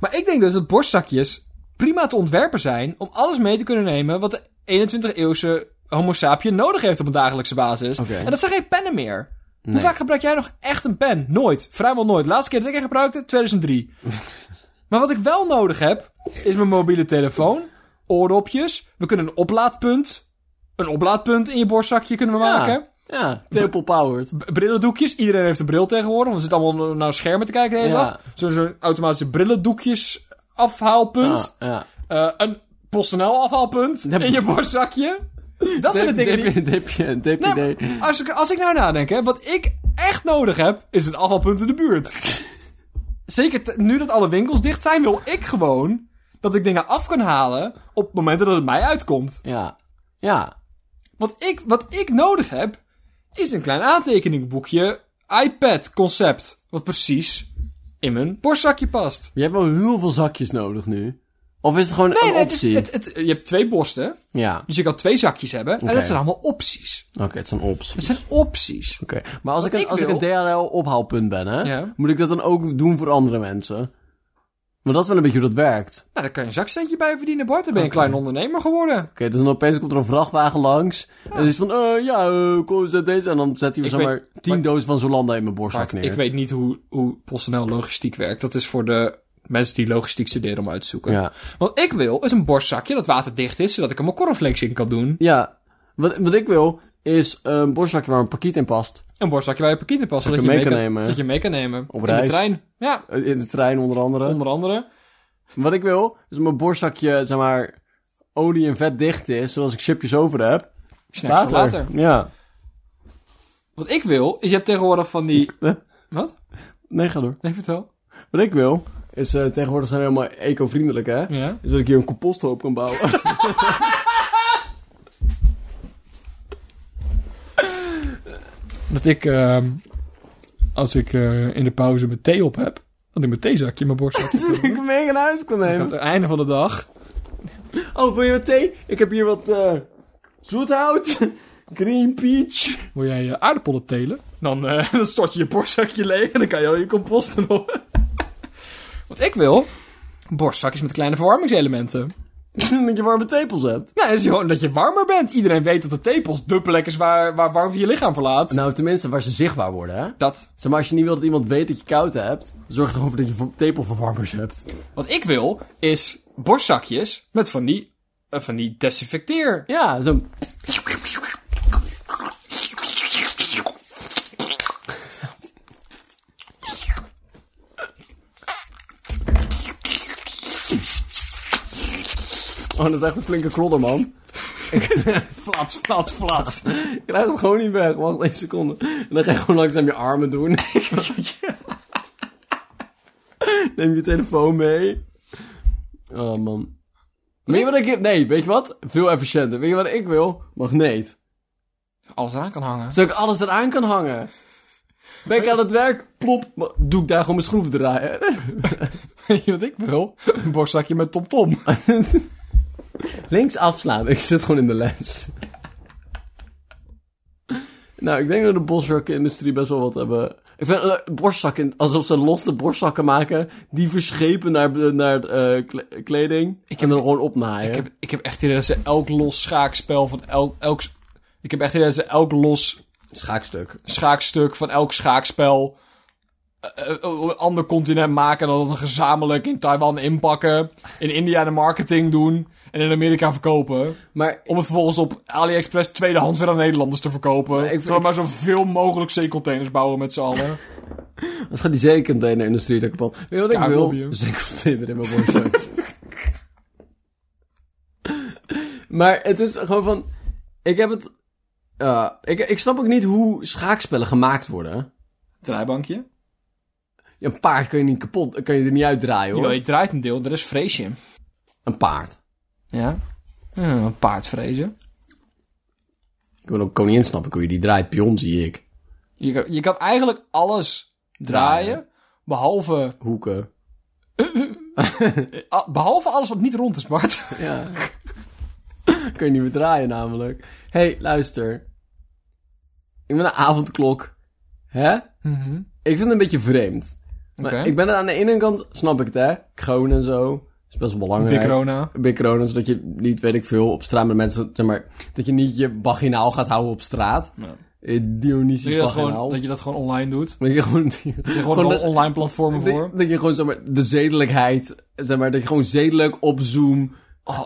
[SPEAKER 2] Maar ik denk dus dat borstzakjes prima te ontwerpen zijn om alles mee te kunnen nemen wat de 21-eeuwse homo sapien nodig heeft op een dagelijkse basis.
[SPEAKER 1] Oké.
[SPEAKER 2] En dat zijn geen pennen meer. Hoe vaak gebruik jij nog echt een pen? Nooit. Vrijwel nooit. Laatste keer dat ik er gebruikte, 2003. maar wat ik wel nodig heb, is mijn mobiele telefoon, oordopjes. We kunnen een oplaadpunt, een oplaadpunt in je borstzakje kunnen we maken.
[SPEAKER 1] Ja, triple powered.
[SPEAKER 2] B- brillendoekjes. Iedereen heeft een bril tegenwoordig. Want we zitten allemaal naar schermen te kijken de hele
[SPEAKER 1] Ja.
[SPEAKER 2] dag. Zo- Zo'n automatische brillendoekjes afhaalpunt.
[SPEAKER 1] Ja, ja.
[SPEAKER 2] Eh, een PostNL afhaalpunt
[SPEAKER 1] Ja.
[SPEAKER 2] in je borstzakje. Dat zijn de dingen die...
[SPEAKER 1] Dipje, dipje, dipje,
[SPEAKER 2] Nee,
[SPEAKER 1] nee.
[SPEAKER 2] maar als, ik, als ik nou nadenk, hè, wat ik echt nodig heb, is een afhaalpunt in de buurt. Zeker t- nu dat alle winkels dicht zijn, wil ik gewoon dat ik dingen af kan halen op momenten dat het mij uitkomt.
[SPEAKER 1] Ja, ja.
[SPEAKER 2] Want ik, wat ik nodig heb, is een klein aantekeningboekje iPad-concept. Wat precies in mijn borstzakje past.
[SPEAKER 1] Je hebt wel heel veel zakjes nodig nu. Of is het gewoon
[SPEAKER 2] Nee,
[SPEAKER 1] een
[SPEAKER 2] nee, het
[SPEAKER 1] optie?
[SPEAKER 2] is, het, het- je hebt twee borsten,
[SPEAKER 1] Ja,
[SPEAKER 2] dus je kan twee zakjes hebben. En dat zijn allemaal opties.
[SPEAKER 1] oké, het is een optie.
[SPEAKER 2] Dat zijn opties.
[SPEAKER 1] Oké, maar als ik, een,
[SPEAKER 2] ik
[SPEAKER 1] als ik
[SPEAKER 2] wil-
[SPEAKER 1] een DHL-ophaalpunt ben, hè,
[SPEAKER 2] Ja.
[SPEAKER 1] moet ik dat dan ook doen voor andere mensen? Maar dat is wel een beetje hoe dat werkt. Oké,
[SPEAKER 2] Nou, daar kan je een zakcentje bij verdienen, Bart. Dan ben je een klein ondernemer geworden.
[SPEAKER 1] dus dan opeens komt er een vrachtwagen langs. En dan is van, eh, ja, eh, kom, zet deze. En dan zet hij
[SPEAKER 2] Ik
[SPEAKER 1] zeg maar
[SPEAKER 2] weet-
[SPEAKER 1] tien
[SPEAKER 2] maar-
[SPEAKER 1] dozen van Zolanda in mijn borstzak
[SPEAKER 2] Bart,
[SPEAKER 1] neer.
[SPEAKER 2] ik weet niet hoe, hoe PostNL logistiek werkt. Dat is voor de mensen die logistiek studeren om uit te zoeken.
[SPEAKER 1] Ja.
[SPEAKER 2] Wat ik wil, is een borstzakje dat waterdicht is, zodat ik er mijn cornflakes in kan doen.
[SPEAKER 1] Ja, wat, wat ik wil is een borstzakje waar een pakket in past.
[SPEAKER 2] Een borstzakje waar je per kind past.
[SPEAKER 1] Dat
[SPEAKER 2] Zodat
[SPEAKER 1] je
[SPEAKER 2] je
[SPEAKER 1] mee
[SPEAKER 2] mee
[SPEAKER 1] kan
[SPEAKER 2] kan
[SPEAKER 1] nemen.
[SPEAKER 2] Dat je mee kan nemen.
[SPEAKER 1] Op
[SPEAKER 2] in
[SPEAKER 1] reis.
[SPEAKER 2] de trein. Ja,
[SPEAKER 1] Eh, In de trein onder andere.
[SPEAKER 2] onder andere.
[SPEAKER 1] Wat ik wil is dat mijn borstzakje, zeg maar, olie en vet dicht is. Zoals ik chipjes over heb.
[SPEAKER 2] Snacks voor later.
[SPEAKER 1] Ja.
[SPEAKER 2] Wat ik wil, is je hebt tegenwoordig van die...
[SPEAKER 1] Eh?
[SPEAKER 2] Wat?
[SPEAKER 1] Nee, ga door.
[SPEAKER 2] Nee, vertel.
[SPEAKER 1] Wat ik wil, is eh, tegenwoordig zijn we helemaal eco-vriendelijk, hè?
[SPEAKER 2] Ja.
[SPEAKER 1] Is dat ik hier een composthoop kan bouwen.
[SPEAKER 2] Dat ik, ehm, als ik eh, in de pauze mijn thee op heb, dat ik mijn theezakje in mijn borst zak.
[SPEAKER 1] Zodat ik hem mee naar huis kan
[SPEAKER 2] Aan
[SPEAKER 1] nemen.
[SPEAKER 2] het einde van de dag.
[SPEAKER 1] Oh, wil je wat thee? Ik heb hier wat eh zoethout, green peach.
[SPEAKER 2] Wil jij je aardappelen telen? Dan, eh, dan stort je je borstzakje leeg en dan kan je al je compost erop. Wat ik wil, borstzakjes met kleine verwarmingselementen.
[SPEAKER 1] dat je warme tepels hebt.
[SPEAKER 2] Nou, dat is gewoon dat je warmer bent. Iedereen weet dat de tepels de plek is waar, waar warmte je lichaam verlaat.
[SPEAKER 1] Nou, tenminste, waar ze zichtbaar worden, hè?
[SPEAKER 2] Dat.
[SPEAKER 1] Zeg maar, als je niet wil dat iemand weet dat je koud hebt, zorg er gewoon voor dat je vo- tepelverwarmers hebt.
[SPEAKER 2] Wat ik wil, is borstzakjes met van die, eh, van die desinfecteer.
[SPEAKER 1] Ja, zo'n... Oh, dat is echt een flinke klodder, man.
[SPEAKER 2] Flats, flats, flats.
[SPEAKER 1] Je krijgt het gewoon niet weg. Wacht één seconde. En dan ga je gewoon langzaam je armen doen. Neem je telefoon mee. Oh man. Weet je wat ik... Nee, weet je wat? Veel efficiënter. Weet je wat ik wil? Magneet.
[SPEAKER 2] Alles eraan kan hangen.
[SPEAKER 1] Zodat ik alles eraan kan hangen. Ben ik aan het werk, plop, maar doe ik daar gewoon mijn schroefdraaier.
[SPEAKER 2] Weet je wat ik wil? Een borstzakje met TomTom.
[SPEAKER 1] Links afslaan, ik zit gewoon in de les. nou, ik denk dat de borstzakkenindustrie best wel wat hebben... Ik vind eh, borstzakken, alsof ze los de borstzakken maken, die verschepen naar, naar eh, kle- kleding ik en dan gewoon opnaaien.
[SPEAKER 2] Ik heb, ik heb echt het idee dat ze elk los schaakspel van elk... elk ik heb echt het idee dat ze elk los
[SPEAKER 1] Schaakstuk.
[SPEAKER 2] schaakstuk van elk schaakspel eh, eh, op een ander continent maken en dan dat gezamenlijk in Taiwan inpakken, in India de marketing doen en in Amerika verkopen.
[SPEAKER 1] Maar
[SPEAKER 2] Om het vervolgens op AliExpress tweedehands weer aan Nederlanders te verkopen.
[SPEAKER 1] Maar ik-
[SPEAKER 2] Ik wil maar zoveel mogelijk zeecontainers bouwen met z'n allen.
[SPEAKER 1] Het gaat die zeecontainer-industrie dat kapot. Weet je wat ik
[SPEAKER 2] Daar
[SPEAKER 1] wil?
[SPEAKER 2] lobby je.
[SPEAKER 1] Zeecontainer in mijn borstzak. maar het is gewoon van... Ik heb het... eh, ik, ik snap ook niet hoe schaakspellen gemaakt worden.
[SPEAKER 2] Draaibankje?
[SPEAKER 1] Ja, Een paard kan je niet kapot... Kan je er niet uitdraaien,
[SPEAKER 2] Jawel,
[SPEAKER 1] hoor.
[SPEAKER 2] je draait een deel, de rest vrees je.
[SPEAKER 1] Een paard.
[SPEAKER 2] Ja. Ja, een paard vrezen.
[SPEAKER 1] Ik wil ook koningin snappen hoe je die draait. Pion zie ik.
[SPEAKER 2] Je kan, je kan eigenlijk alles draaien, behalve,
[SPEAKER 1] Hoeken.
[SPEAKER 2] ah, behalve alles wat niet rond is, Bart.
[SPEAKER 1] Ja. Kun je niet meer draaien namelijk. Hé, hey, luister. Ik ben een avondklok. Hè? Ik vind het een beetje vreemd. Maar
[SPEAKER 2] Mhm. Oké.
[SPEAKER 1] ik ben het aan de ene kant, snap ik het hè? Kroon en zo. is best wel belangrijk.
[SPEAKER 2] Big Rona.
[SPEAKER 1] Big Corona, zodat je niet, weet ik veel, op straat met mensen, zeg maar, dat je niet je vaginaal gaat houden op straat.
[SPEAKER 2] Ja.
[SPEAKER 1] Eh, Dionysisch
[SPEAKER 2] Dat je, dat,
[SPEAKER 1] vaginaal.
[SPEAKER 2] gewoon, dat je dat gewoon online doet.
[SPEAKER 1] Dat je gewoon,
[SPEAKER 2] Er zijn gewoon
[SPEAKER 1] gewoon
[SPEAKER 2] wel
[SPEAKER 1] de-
[SPEAKER 2] online platformen voor.
[SPEAKER 1] dat, dat je gewoon, zeg maar, de zedelijkheid, zeg maar, dat je gewoon zedelijk op Zoom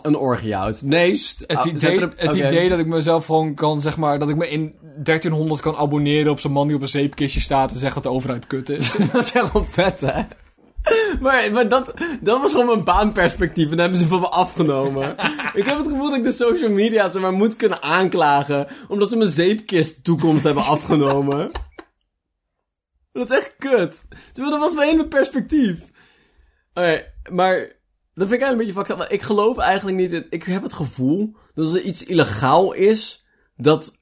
[SPEAKER 1] een orgie houdt. Nee, st-
[SPEAKER 2] Oh. Het,
[SPEAKER 1] ah, zet
[SPEAKER 2] idee,
[SPEAKER 1] er een-
[SPEAKER 2] het
[SPEAKER 1] oké.
[SPEAKER 2] idee dat ik mezelf gewoon kan, zeg maar, dat ik me in 1300 kan abonneren op zo'n man die op een zeepkistje staat en zegt dat de overheid kut is.
[SPEAKER 1] Dat is helemaal vet, hè? Maar, maar dat, dat was gewoon mijn baanperspectief en dat hebben ze van me afgenomen. ik heb het gevoel dat ik de social media zeg maar, moet kunnen aanklagen, omdat ze mijn zeepkist toekomst hebben afgenomen. Dat is echt kut. Terwijl dat was mijn hele perspectief. Oké, maar dat vind ik eigenlijk een beetje fucked up. want Ik geloof eigenlijk niet in... Ik heb het gevoel dat als er iets illegaal is, dat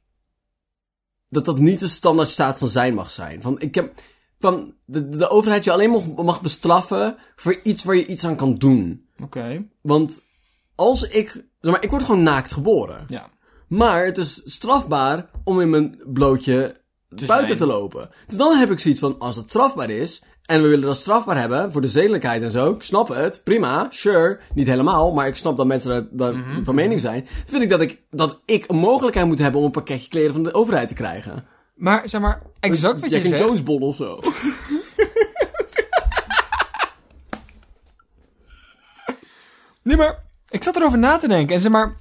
[SPEAKER 1] dat dat niet de standaard staat van zijn mag zijn. Van, ik heb, van de, de overheid je alleen mag, mag bestraffen voor iets waar je iets aan kan doen.
[SPEAKER 2] Oké.
[SPEAKER 1] Want als ik, zeg maar, ik word gewoon naakt geboren.
[SPEAKER 2] Ja.
[SPEAKER 1] Maar het is strafbaar om in mijn blootje buiten
[SPEAKER 2] zijn.
[SPEAKER 1] te lopen. Dus dan heb ik zoiets van, als het strafbaar is, en we willen dat strafbaar hebben voor de zedelijkheid en zo, ik snap het, prima, sure, niet helemaal, maar ik snap dat mensen daar, daar
[SPEAKER 2] Mhm.
[SPEAKER 1] van mening zijn, vind ik dat, ik dat ik een mogelijkheid moet hebben om een pakketje kleren van de overheid te krijgen.
[SPEAKER 2] Maar zeg maar, exact wat
[SPEAKER 1] Jack
[SPEAKER 2] je
[SPEAKER 1] and
[SPEAKER 2] zegt.
[SPEAKER 1] Jones bol of zo.
[SPEAKER 2] Nee, maar ik zat erover na te denken en zeg maar,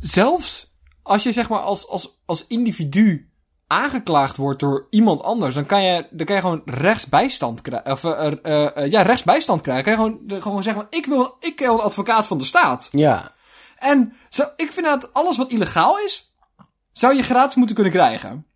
[SPEAKER 2] zelfs als je zeg maar als, als, als individu aangeklaagd wordt door iemand anders, dan kan je, dan kan je gewoon rechtsbijstand krijgen. Of eh, eh, eh, ja, rechtsbijstand krijgen. Kan je gewoon, de- gewoon zeggen, van, ik wil, ik wil een advocaat van de staat.
[SPEAKER 1] Ja.
[SPEAKER 2] En zo, ik vind dat alles wat illegaal is, zou je gratis moeten kunnen krijgen.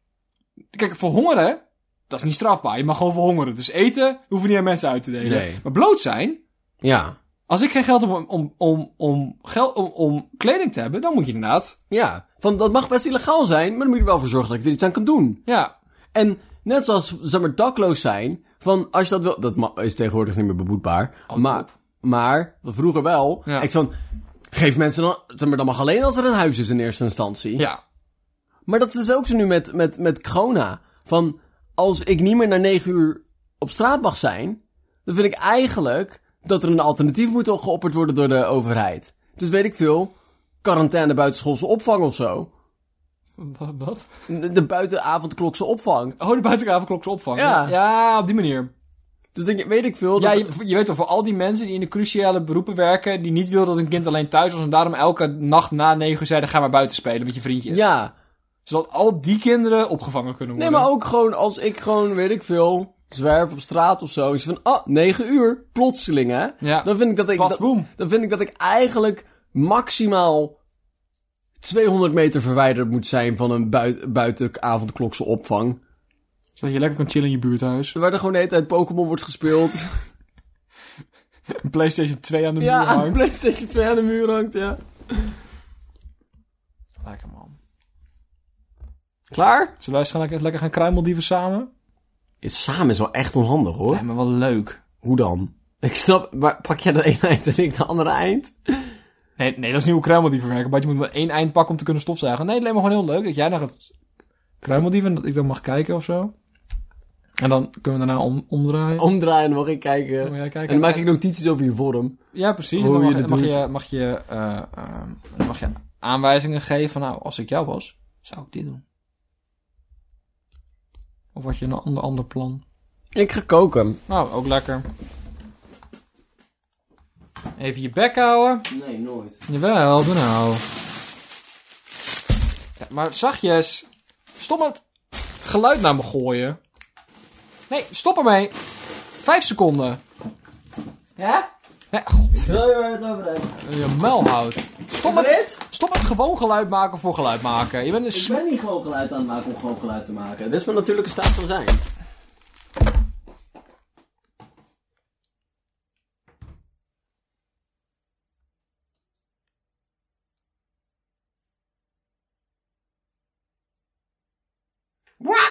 [SPEAKER 2] Kijk, voor hongeren, dat is niet strafbaar. Je mag gewoon verhongeren. Dus eten hoeven niet aan mensen uit te delen.
[SPEAKER 1] Nee.
[SPEAKER 2] Maar bloot zijn,
[SPEAKER 1] Ja.
[SPEAKER 2] als ik geen geld heb om, om, om, om, geld, om, om kleding te hebben, dan moet je inderdaad.
[SPEAKER 1] Ja. Van, dat mag best illegaal zijn, maar dan moet je er wel voor zorgen dat ik er iets aan kan doen.
[SPEAKER 2] Ja,
[SPEAKER 1] En net zoals, zeg maar, dakloos zijn, van, als je dat wil... Dat ma- is tegenwoordig niet meer beboetbaar. maar, maar, vroeger wel.
[SPEAKER 2] Oh, Ja.
[SPEAKER 1] Ik van, geef mensen dan... Zeg maar, dat mag alleen als er een huis is in eerste instantie.
[SPEAKER 2] ja.
[SPEAKER 1] Maar dat is dus ook zo nu met, met, met corona. Van, als ik niet meer na negen uur op straat mag zijn, dan vind ik eigenlijk dat er een alternatief moet geopperd worden door de overheid. Dus weet ik veel, quarantaine buitenschoolse opvang of zo.
[SPEAKER 2] Wat?
[SPEAKER 1] De, de buitenavondklokse opvang.
[SPEAKER 2] Oh, de buitenavondklokse opvang.
[SPEAKER 1] Ja.
[SPEAKER 2] ja, op die manier.
[SPEAKER 1] Dus denk, je- weet ik veel.
[SPEAKER 2] Ja,
[SPEAKER 1] dat-
[SPEAKER 2] je, je weet toch, voor al die mensen die in de cruciale beroepen werken, die niet wilden dat een kind alleen thuis was en daarom elke nacht na negen uur zeiden, ga maar buiten spelen met je vriendjes.
[SPEAKER 1] ja.
[SPEAKER 2] Zodat al die kinderen opgevangen kunnen
[SPEAKER 1] Nee,
[SPEAKER 2] worden.
[SPEAKER 1] maar ook gewoon als ik gewoon, weet ik veel, zwerf op straat of zo. Is van, ah, negen uur, plotseling hè.
[SPEAKER 2] Ja.
[SPEAKER 1] Dan vind ik dat ik...
[SPEAKER 2] Pats,
[SPEAKER 1] dat-
[SPEAKER 2] boem.
[SPEAKER 1] dan vind ik dat ik eigenlijk maximaal 200 meter verwijderd moet zijn van een buit buitenavondklokse opvang.
[SPEAKER 2] Zodat je lekker kan chillen in je buurthuis.
[SPEAKER 1] Waar er gewoon de hele tijd Pokémon wordt gespeeld.
[SPEAKER 2] Een Playstation 2 aan de
[SPEAKER 1] ja,
[SPEAKER 2] muur
[SPEAKER 1] aan de
[SPEAKER 2] hangt.
[SPEAKER 1] PlayStation 2 aan de muur hangt, ja.
[SPEAKER 2] Lekker man.
[SPEAKER 1] Klaar?
[SPEAKER 2] Zullen wij eens gaan lekker, lekker gaan kruimeldieven samen?
[SPEAKER 1] Is samen is wel echt onhandig hoor.
[SPEAKER 2] Lijkt me wel leuk.
[SPEAKER 1] Hoe dan? Ik snap, maar pak jij dat ene eind en ik de andere eind?
[SPEAKER 2] Nee, nee, dat is niet hoe kruimeldieven werken. Maar je moet maar één eind pakken om te kunnen stofzuigen. Nee, het lijkt me gewoon heel leuk dat jij naar het kruimeldieven... en dat ik dan mag kijken of zo. En dan kunnen we daarna om, omdraaien.
[SPEAKER 1] Omdraaien, mag ik kijken.
[SPEAKER 2] Moet jij kijken.
[SPEAKER 1] Oh, En dan maak ik notities over je vorm.
[SPEAKER 2] Ja, precies.
[SPEAKER 1] Hoe
[SPEAKER 2] Dan mag,
[SPEAKER 1] je
[SPEAKER 2] dan
[SPEAKER 1] het
[SPEAKER 2] mag
[SPEAKER 1] doet.
[SPEAKER 2] je, mag, je, eh, ehm, dan mag je aanwijzingen geven van... Nou, als ik jou was, zou ik dit doen. Of had je een ander, ander plan?
[SPEAKER 1] Ik ga koken.
[SPEAKER 2] Nou, ook lekker. Even je bek houden.
[SPEAKER 1] Nee, nooit.
[SPEAKER 2] Jawel, doe nou. Ja, maar zachtjes. Stop met geluid naar me gooien. Nee, stop ermee. Vijf seconden.
[SPEAKER 1] Ja?
[SPEAKER 2] Ja, god,
[SPEAKER 1] Zo je het over hebt.
[SPEAKER 2] je muil houdt. Stop met, stop met gewoon geluid maken voor geluid maken. Je bent een sm-
[SPEAKER 1] ben niet gewoon geluid aan het maken om gewoon geluid te maken. Dit is mijn natuurlijke staat van zijn.